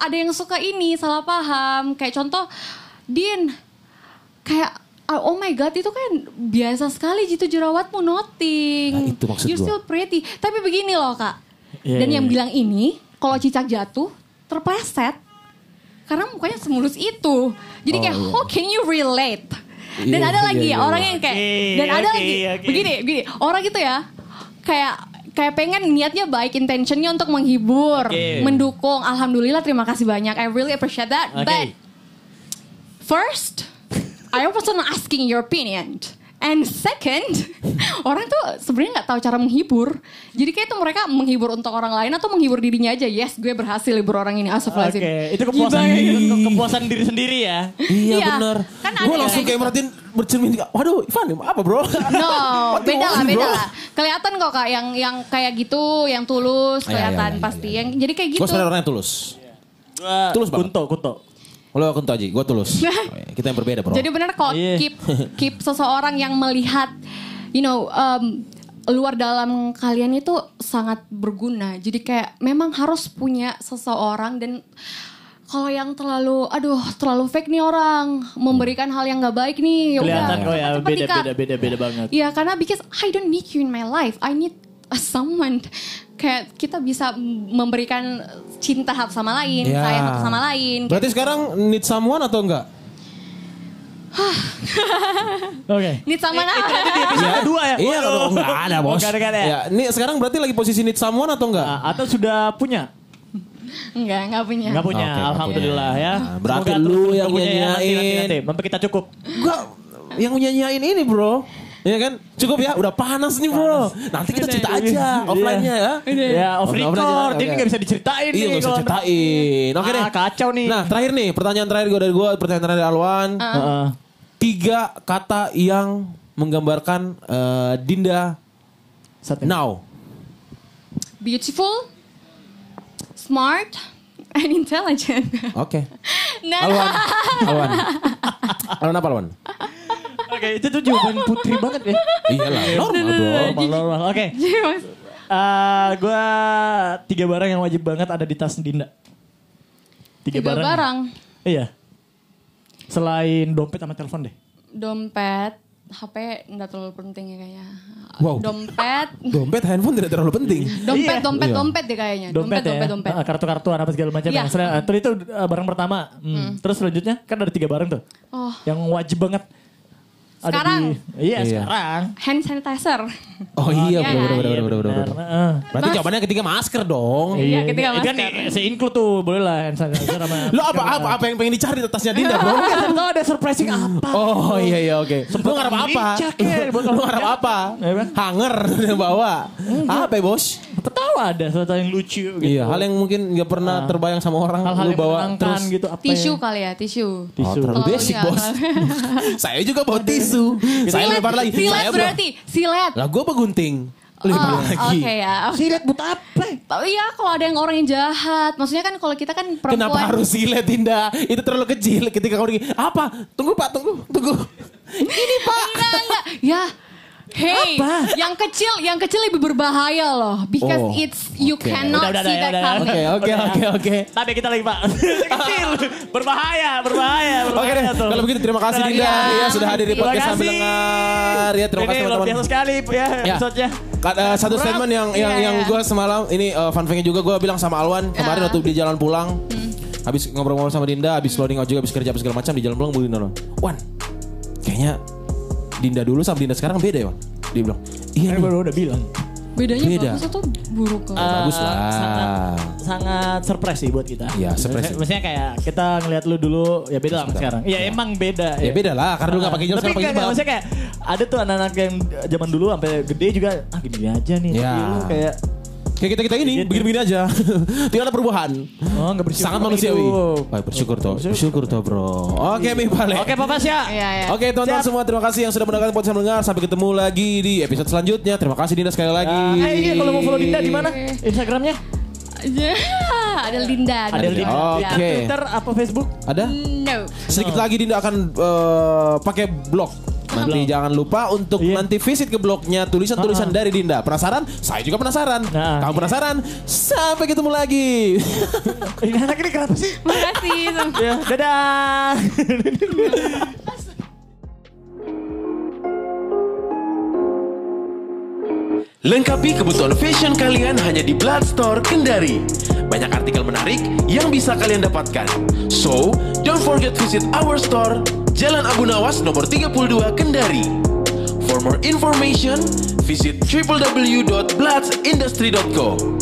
Speaker 5: ada yang suka ini salah paham kayak contoh Din kayak oh my god itu kan biasa sekali gitu jerawatmu noting.
Speaker 3: Nah, itu maksud
Speaker 5: You're
Speaker 3: gua.
Speaker 5: still pretty. Tapi begini loh kak.
Speaker 4: Iya,
Speaker 5: Dan
Speaker 4: iya,
Speaker 5: yang
Speaker 4: iya.
Speaker 5: bilang ini kalau cicak jatuh terpleset karena mukanya semulus itu. Jadi kayak how can you relate? Dan
Speaker 3: Oh. Iya,
Speaker 5: ada
Speaker 3: iya,
Speaker 5: lagi
Speaker 3: iya,
Speaker 5: ya orang yang kayak
Speaker 4: Iya,
Speaker 5: dan ada
Speaker 4: oke,
Speaker 5: lagi
Speaker 4: oke.
Speaker 5: begini begini orang gitu ya kayak kayak pengen niatnya baik intentionnya untuk menghibur,
Speaker 4: Oke.
Speaker 5: mendukung. Alhamdulillah terima kasih banyak. I really appreciate that.
Speaker 4: Oke.
Speaker 5: But First, I was not asking your opinion. And second, orang tuh sebenarnya nggak tahu cara menghibur. Jadi kayak itu mereka menghibur untuk orang lain atau menghibur dirinya aja. Yes, gue berhasil hibur orang ini.
Speaker 4: Oke,
Speaker 5: Astagfirullahaladzim.
Speaker 4: itu kepuasan
Speaker 5: Gibah.
Speaker 4: diri, ke- kepuasan diri sendiri ya.
Speaker 3: Iya,
Speaker 5: Iya,
Speaker 3: bener.
Speaker 5: kan ada
Speaker 3: gue
Speaker 5: yang
Speaker 3: langsung
Speaker 5: kayak
Speaker 3: kayak merhatiin bercermin. Waduh, Ivan apa bro?
Speaker 5: No,
Speaker 3: What do you
Speaker 5: beda lah,
Speaker 3: want, bro?
Speaker 5: beda
Speaker 3: Iya,
Speaker 5: lah. Kelihatan kok kak, yang yang kayak gitu, yang tulus,
Speaker 3: Ah, iya, iya,
Speaker 5: kelihatan
Speaker 3: iya,
Speaker 5: pasti.
Speaker 3: iya,
Speaker 5: Yang jadi kayak
Speaker 3: Gue
Speaker 5: gitu.
Speaker 3: sebenarnya orangnya tulus.
Speaker 4: Gua-
Speaker 3: Tulus banget.
Speaker 4: Kunto, kunto.
Speaker 3: Lo aku aja, gue tulus. Oh, iya. Kita yang berbeda bro.
Speaker 5: Jadi benar kok
Speaker 4: Iya.
Speaker 5: keep keep seseorang yang melihat you know um, luar dalam kalian itu sangat berguna. Jadi kayak memang harus punya seseorang dan kalau yang terlalu aduh terlalu fake nih orang memberikan hal yang nggak baik nih ya udah,
Speaker 4: Kelihatan kok ya
Speaker 5: cepat-cepat
Speaker 4: beda
Speaker 5: di-cut.
Speaker 4: beda beda beda banget.
Speaker 5: Iya karena because I don't need you in my life. I need a someone. Kayak kita bisa memberikan cinta satu sama lain,
Speaker 4: Iya.
Speaker 3: Ya.
Speaker 5: sayang satu sama lain.
Speaker 3: Berarti sekarang need someone atau enggak?
Speaker 4: Oke.
Speaker 5: Need
Speaker 4: Eh,
Speaker 5: someone apa?
Speaker 4: Episode kedua ya.
Speaker 3: Iya
Speaker 4: Waduh.
Speaker 3: kalau enggak ada bos.
Speaker 4: Enggak ada, enggak ada ya?
Speaker 3: Ya, ini sekarang berarti lagi posisi need someone atau enggak?
Speaker 4: Ah, Atau sudah punya?
Speaker 5: Enggak, enggak punya.
Speaker 4: Enggak punya,
Speaker 3: Oke, nggak
Speaker 4: alhamdulillah
Speaker 3: punya.
Speaker 4: ya.
Speaker 3: Nah, berarti
Speaker 4: Semoga
Speaker 3: lu
Speaker 4: terus
Speaker 3: yang
Speaker 4: punya ya, nanti, nanti,
Speaker 3: nyanyain.
Speaker 4: nanti. Mampu kita cukup.
Speaker 3: Gua yang nyanyiin ini bro. Iya kan? Cukup ya, udah panas nih bro. Nanti
Speaker 4: Iya,
Speaker 3: kita cerita aja offline-nya ya.
Speaker 4: Ya, off
Speaker 3: Offline- offline
Speaker 4: record.
Speaker 3: aja,
Speaker 4: Jadi
Speaker 3: oke.
Speaker 4: nggak bisa
Speaker 3: Iya
Speaker 4: diceritain nih
Speaker 3: gak usah
Speaker 4: kalau-
Speaker 3: ceritain. Oke deh.
Speaker 4: Ah, kacau nih. Ah.
Speaker 3: Nah terakhir nih pertanyaan terakhir gue dari gue. Pertanyaan terakhir dari Alwan.
Speaker 4: Heeh.
Speaker 3: Tiga kata yang menggambarkan eh, Dinda
Speaker 4: Satu.
Speaker 3: now.
Speaker 5: beautiful, smart, and intelligent.
Speaker 3: Oke.
Speaker 5: Nah,
Speaker 3: Alwan. Alwan. Alwan apa Alwan?
Speaker 4: Oke, itu tuh jawaban putri banget ya.
Speaker 3: Iya lah. Normal bro.
Speaker 4: Normal, normal. Oke.
Speaker 5: jadi mas,
Speaker 4: Eh, gua tiga barang yang wajib banget ada di tas Dinda.
Speaker 5: tiga barang.
Speaker 4: Iya. Selain dompet sama telepon deh.
Speaker 5: dompet, HP nggak terlalu penting ya kayaknya.
Speaker 3: Wow.
Speaker 5: Dompet,
Speaker 3: Dompet handphone tidak terlalu penting.
Speaker 5: dompet,
Speaker 4: Iya.
Speaker 5: dompet,
Speaker 3: Iya.
Speaker 5: dompet deh kayaknya.
Speaker 4: Dompet, ya.
Speaker 5: Eh, dompet, dompet.
Speaker 4: Ah, Kartu-kartuan apa segala macam.
Speaker 5: Iya.
Speaker 4: yang selain- Terus itu eh, barang pertama. Hmm. Terus selanjutnya kan ada tiga barang tuh.
Speaker 5: Oh,
Speaker 4: Yang wajib banget. ada
Speaker 5: Sekarang.
Speaker 4: di- iya,
Speaker 3: Iya.
Speaker 4: sekarang.
Speaker 5: hand sanitizer.
Speaker 3: Oh iya
Speaker 5: Iya,
Speaker 3: bro bro
Speaker 5: kan?
Speaker 3: bro bro bro. bro.
Speaker 4: Heeh.
Speaker 3: Berarti jawabannya ketiga masker dong.
Speaker 5: Iya,
Speaker 4: Iya,
Speaker 5: ketika
Speaker 4: itu kan
Speaker 5: masker.
Speaker 4: se include tuh, boleh lah hand sanitizer sama.
Speaker 3: Lo apa apa apa yang pengen dicari di tasnya Dinda bro?
Speaker 4: Lo ada surprising apa?
Speaker 3: Oh iya iya oke. Lo ngarep apa?
Speaker 4: merica, Ken.
Speaker 3: Lo ngarep apa?
Speaker 4: Iya, kan?
Speaker 3: Hanger bawa. Apa ya, bos?
Speaker 4: Ketawa ada sesuatu yang lucu gitu. Ah.
Speaker 3: Iya, hal yang mungkin nggak pernah terbayang sama orang lu
Speaker 4: Hal-hal yang
Speaker 3: bawa
Speaker 4: menyenangkan
Speaker 3: terus
Speaker 4: gitu apa
Speaker 5: Tisu
Speaker 4: ya?
Speaker 5: kali ya, tisu.
Speaker 3: Oh, terlalu
Speaker 5: Kalau
Speaker 3: basic
Speaker 5: iya,
Speaker 3: bos.
Speaker 5: kalau-
Speaker 3: saya juga bawa tisu. saya
Speaker 5: Silet,
Speaker 3: lempar lagi.
Speaker 5: Silet
Speaker 3: saya bawa-
Speaker 5: berarti, silet.
Speaker 3: Lah gue begunting. Lempar
Speaker 5: Oh,
Speaker 3: lagi.
Speaker 5: Oke ya.
Speaker 4: Silet buta apa?
Speaker 5: Tapi ya kalau ada yang orang yang jahat, maksudnya kan kalau kita kan perempuan.
Speaker 3: Kenapa harus silet Dinda? Itu terlalu kecil ketika kamu gini, apa? Tunggu Pak, tunggu, tunggu. Ini Pak.
Speaker 5: Enggak, enggak. Ya. Hey,
Speaker 4: Apa?
Speaker 5: yang kecil, yang kecil lebih berbahaya loh, because
Speaker 3: Oh,
Speaker 5: it's you
Speaker 3: oke.
Speaker 5: cannot
Speaker 4: Udah, udah,
Speaker 5: see
Speaker 4: udah,
Speaker 5: that
Speaker 4: udah, udah.
Speaker 5: coming.
Speaker 3: Oke, oke, oke, oke.
Speaker 4: Tapi kita lagi pak Kecil Berbahaya Berbahaya
Speaker 3: Oke deh,
Speaker 4: berbahaya tuh.
Speaker 3: kalau begitu terima kasih
Speaker 4: Terima
Speaker 3: Dinda
Speaker 4: kasih.
Speaker 3: ya sudah hadir di
Speaker 5: Terima
Speaker 3: podcast sambil
Speaker 4: kasih.
Speaker 3: dengar. Ya, terima
Speaker 4: Ini
Speaker 3: kasih
Speaker 4: luar
Speaker 3: teman-teman.
Speaker 4: biasa sekali ya
Speaker 3: Ya.
Speaker 4: episode-nya.
Speaker 3: Ka- eh, satu statement yang yang
Speaker 5: Iya,
Speaker 3: yang
Speaker 5: iya.
Speaker 3: gue semalam ini eh, fun fact-nya juga gue bilang sama Alwan kemarin waktu di jalan pulang habis ngobrol-ngobrol sama Dinda habis loading out juga habis kerja habis segala macam di jalan pulang gue bilang Wan kayaknya Dinda dulu sama Dinda sekarang beda ya Wan dia bilang iya
Speaker 4: Kan
Speaker 3: nih,
Speaker 4: baru udah bilang.
Speaker 5: Bedanya
Speaker 3: Beda.
Speaker 5: bagus atau buruk loh.
Speaker 4: Ah.
Speaker 3: bagus lah
Speaker 4: Eh, sangat- Sangat surprise sih buat kita.
Speaker 3: Iya, surprise.
Speaker 4: Maksudnya, maksudnya kayak kita ngeliat lu dulu ya beda lah sama sekarang. Iya emang beda.
Speaker 3: ya beda lah karena dulu gak pakai jilbab
Speaker 4: Nah, Tapi
Speaker 3: sekarang pakai
Speaker 4: kayak,
Speaker 3: jilbab
Speaker 4: maksudnya kayak ada tuh anak-anak yang zaman dulu sampai gede juga ah gini aja nih.
Speaker 3: Ya.
Speaker 4: Tapi lu kayak
Speaker 3: kayak kita kita ini
Speaker 4: Gitu.
Speaker 3: begini-begini aja tidak ada perubahan
Speaker 4: oh nggak bersyukur.
Speaker 3: sangat manusiawi
Speaker 4: hidup.
Speaker 3: oh, bersyukur toh bersyukur toh bro oke Mi Pale
Speaker 4: Oke Papa Sya.
Speaker 5: Iya, iya.
Speaker 3: Oke teman-teman
Speaker 4: Siap.
Speaker 3: semua terima kasih yang sudah mendengarkan podcast mendengar sampai ketemu lagi di episode selanjutnya terima kasih Dinda sekali lagi.
Speaker 4: Eh, iya, kalau mau follow Dinda di mana? Instagramnya?
Speaker 5: Ya, ada Linda. Ya.
Speaker 4: Ada
Speaker 3: Dinda.
Speaker 4: Dinda.
Speaker 3: Oke.
Speaker 4: Di Twitter apa Facebook?
Speaker 3: Ada
Speaker 5: No.
Speaker 4: Nah.
Speaker 3: sedikit lagi Dinda akan eh, pakai blog. Nanti jangan lupa untuk
Speaker 4: Iya. Ah.
Speaker 3: nanti visit ke blognya tulisan-tulisan dari Dinda. Penasaran? Saya juga penasaran.
Speaker 4: Nah.
Speaker 3: Kamu penasaran? Sampai ketemu lagi.
Speaker 4: Ini anak ini kenapa sih?
Speaker 5: Makasih.
Speaker 4: Ya, dadah.
Speaker 1: Lengkapi kebutuhan fashion kalian hanya di Bloodstore Kendari. Banyak artikel menarik yang bisa kalian dapatkan. So, don't forget visit our store, Jalan Abu Nawas nomor 32 Kendari. For more information, visit www.bloodindustry.co.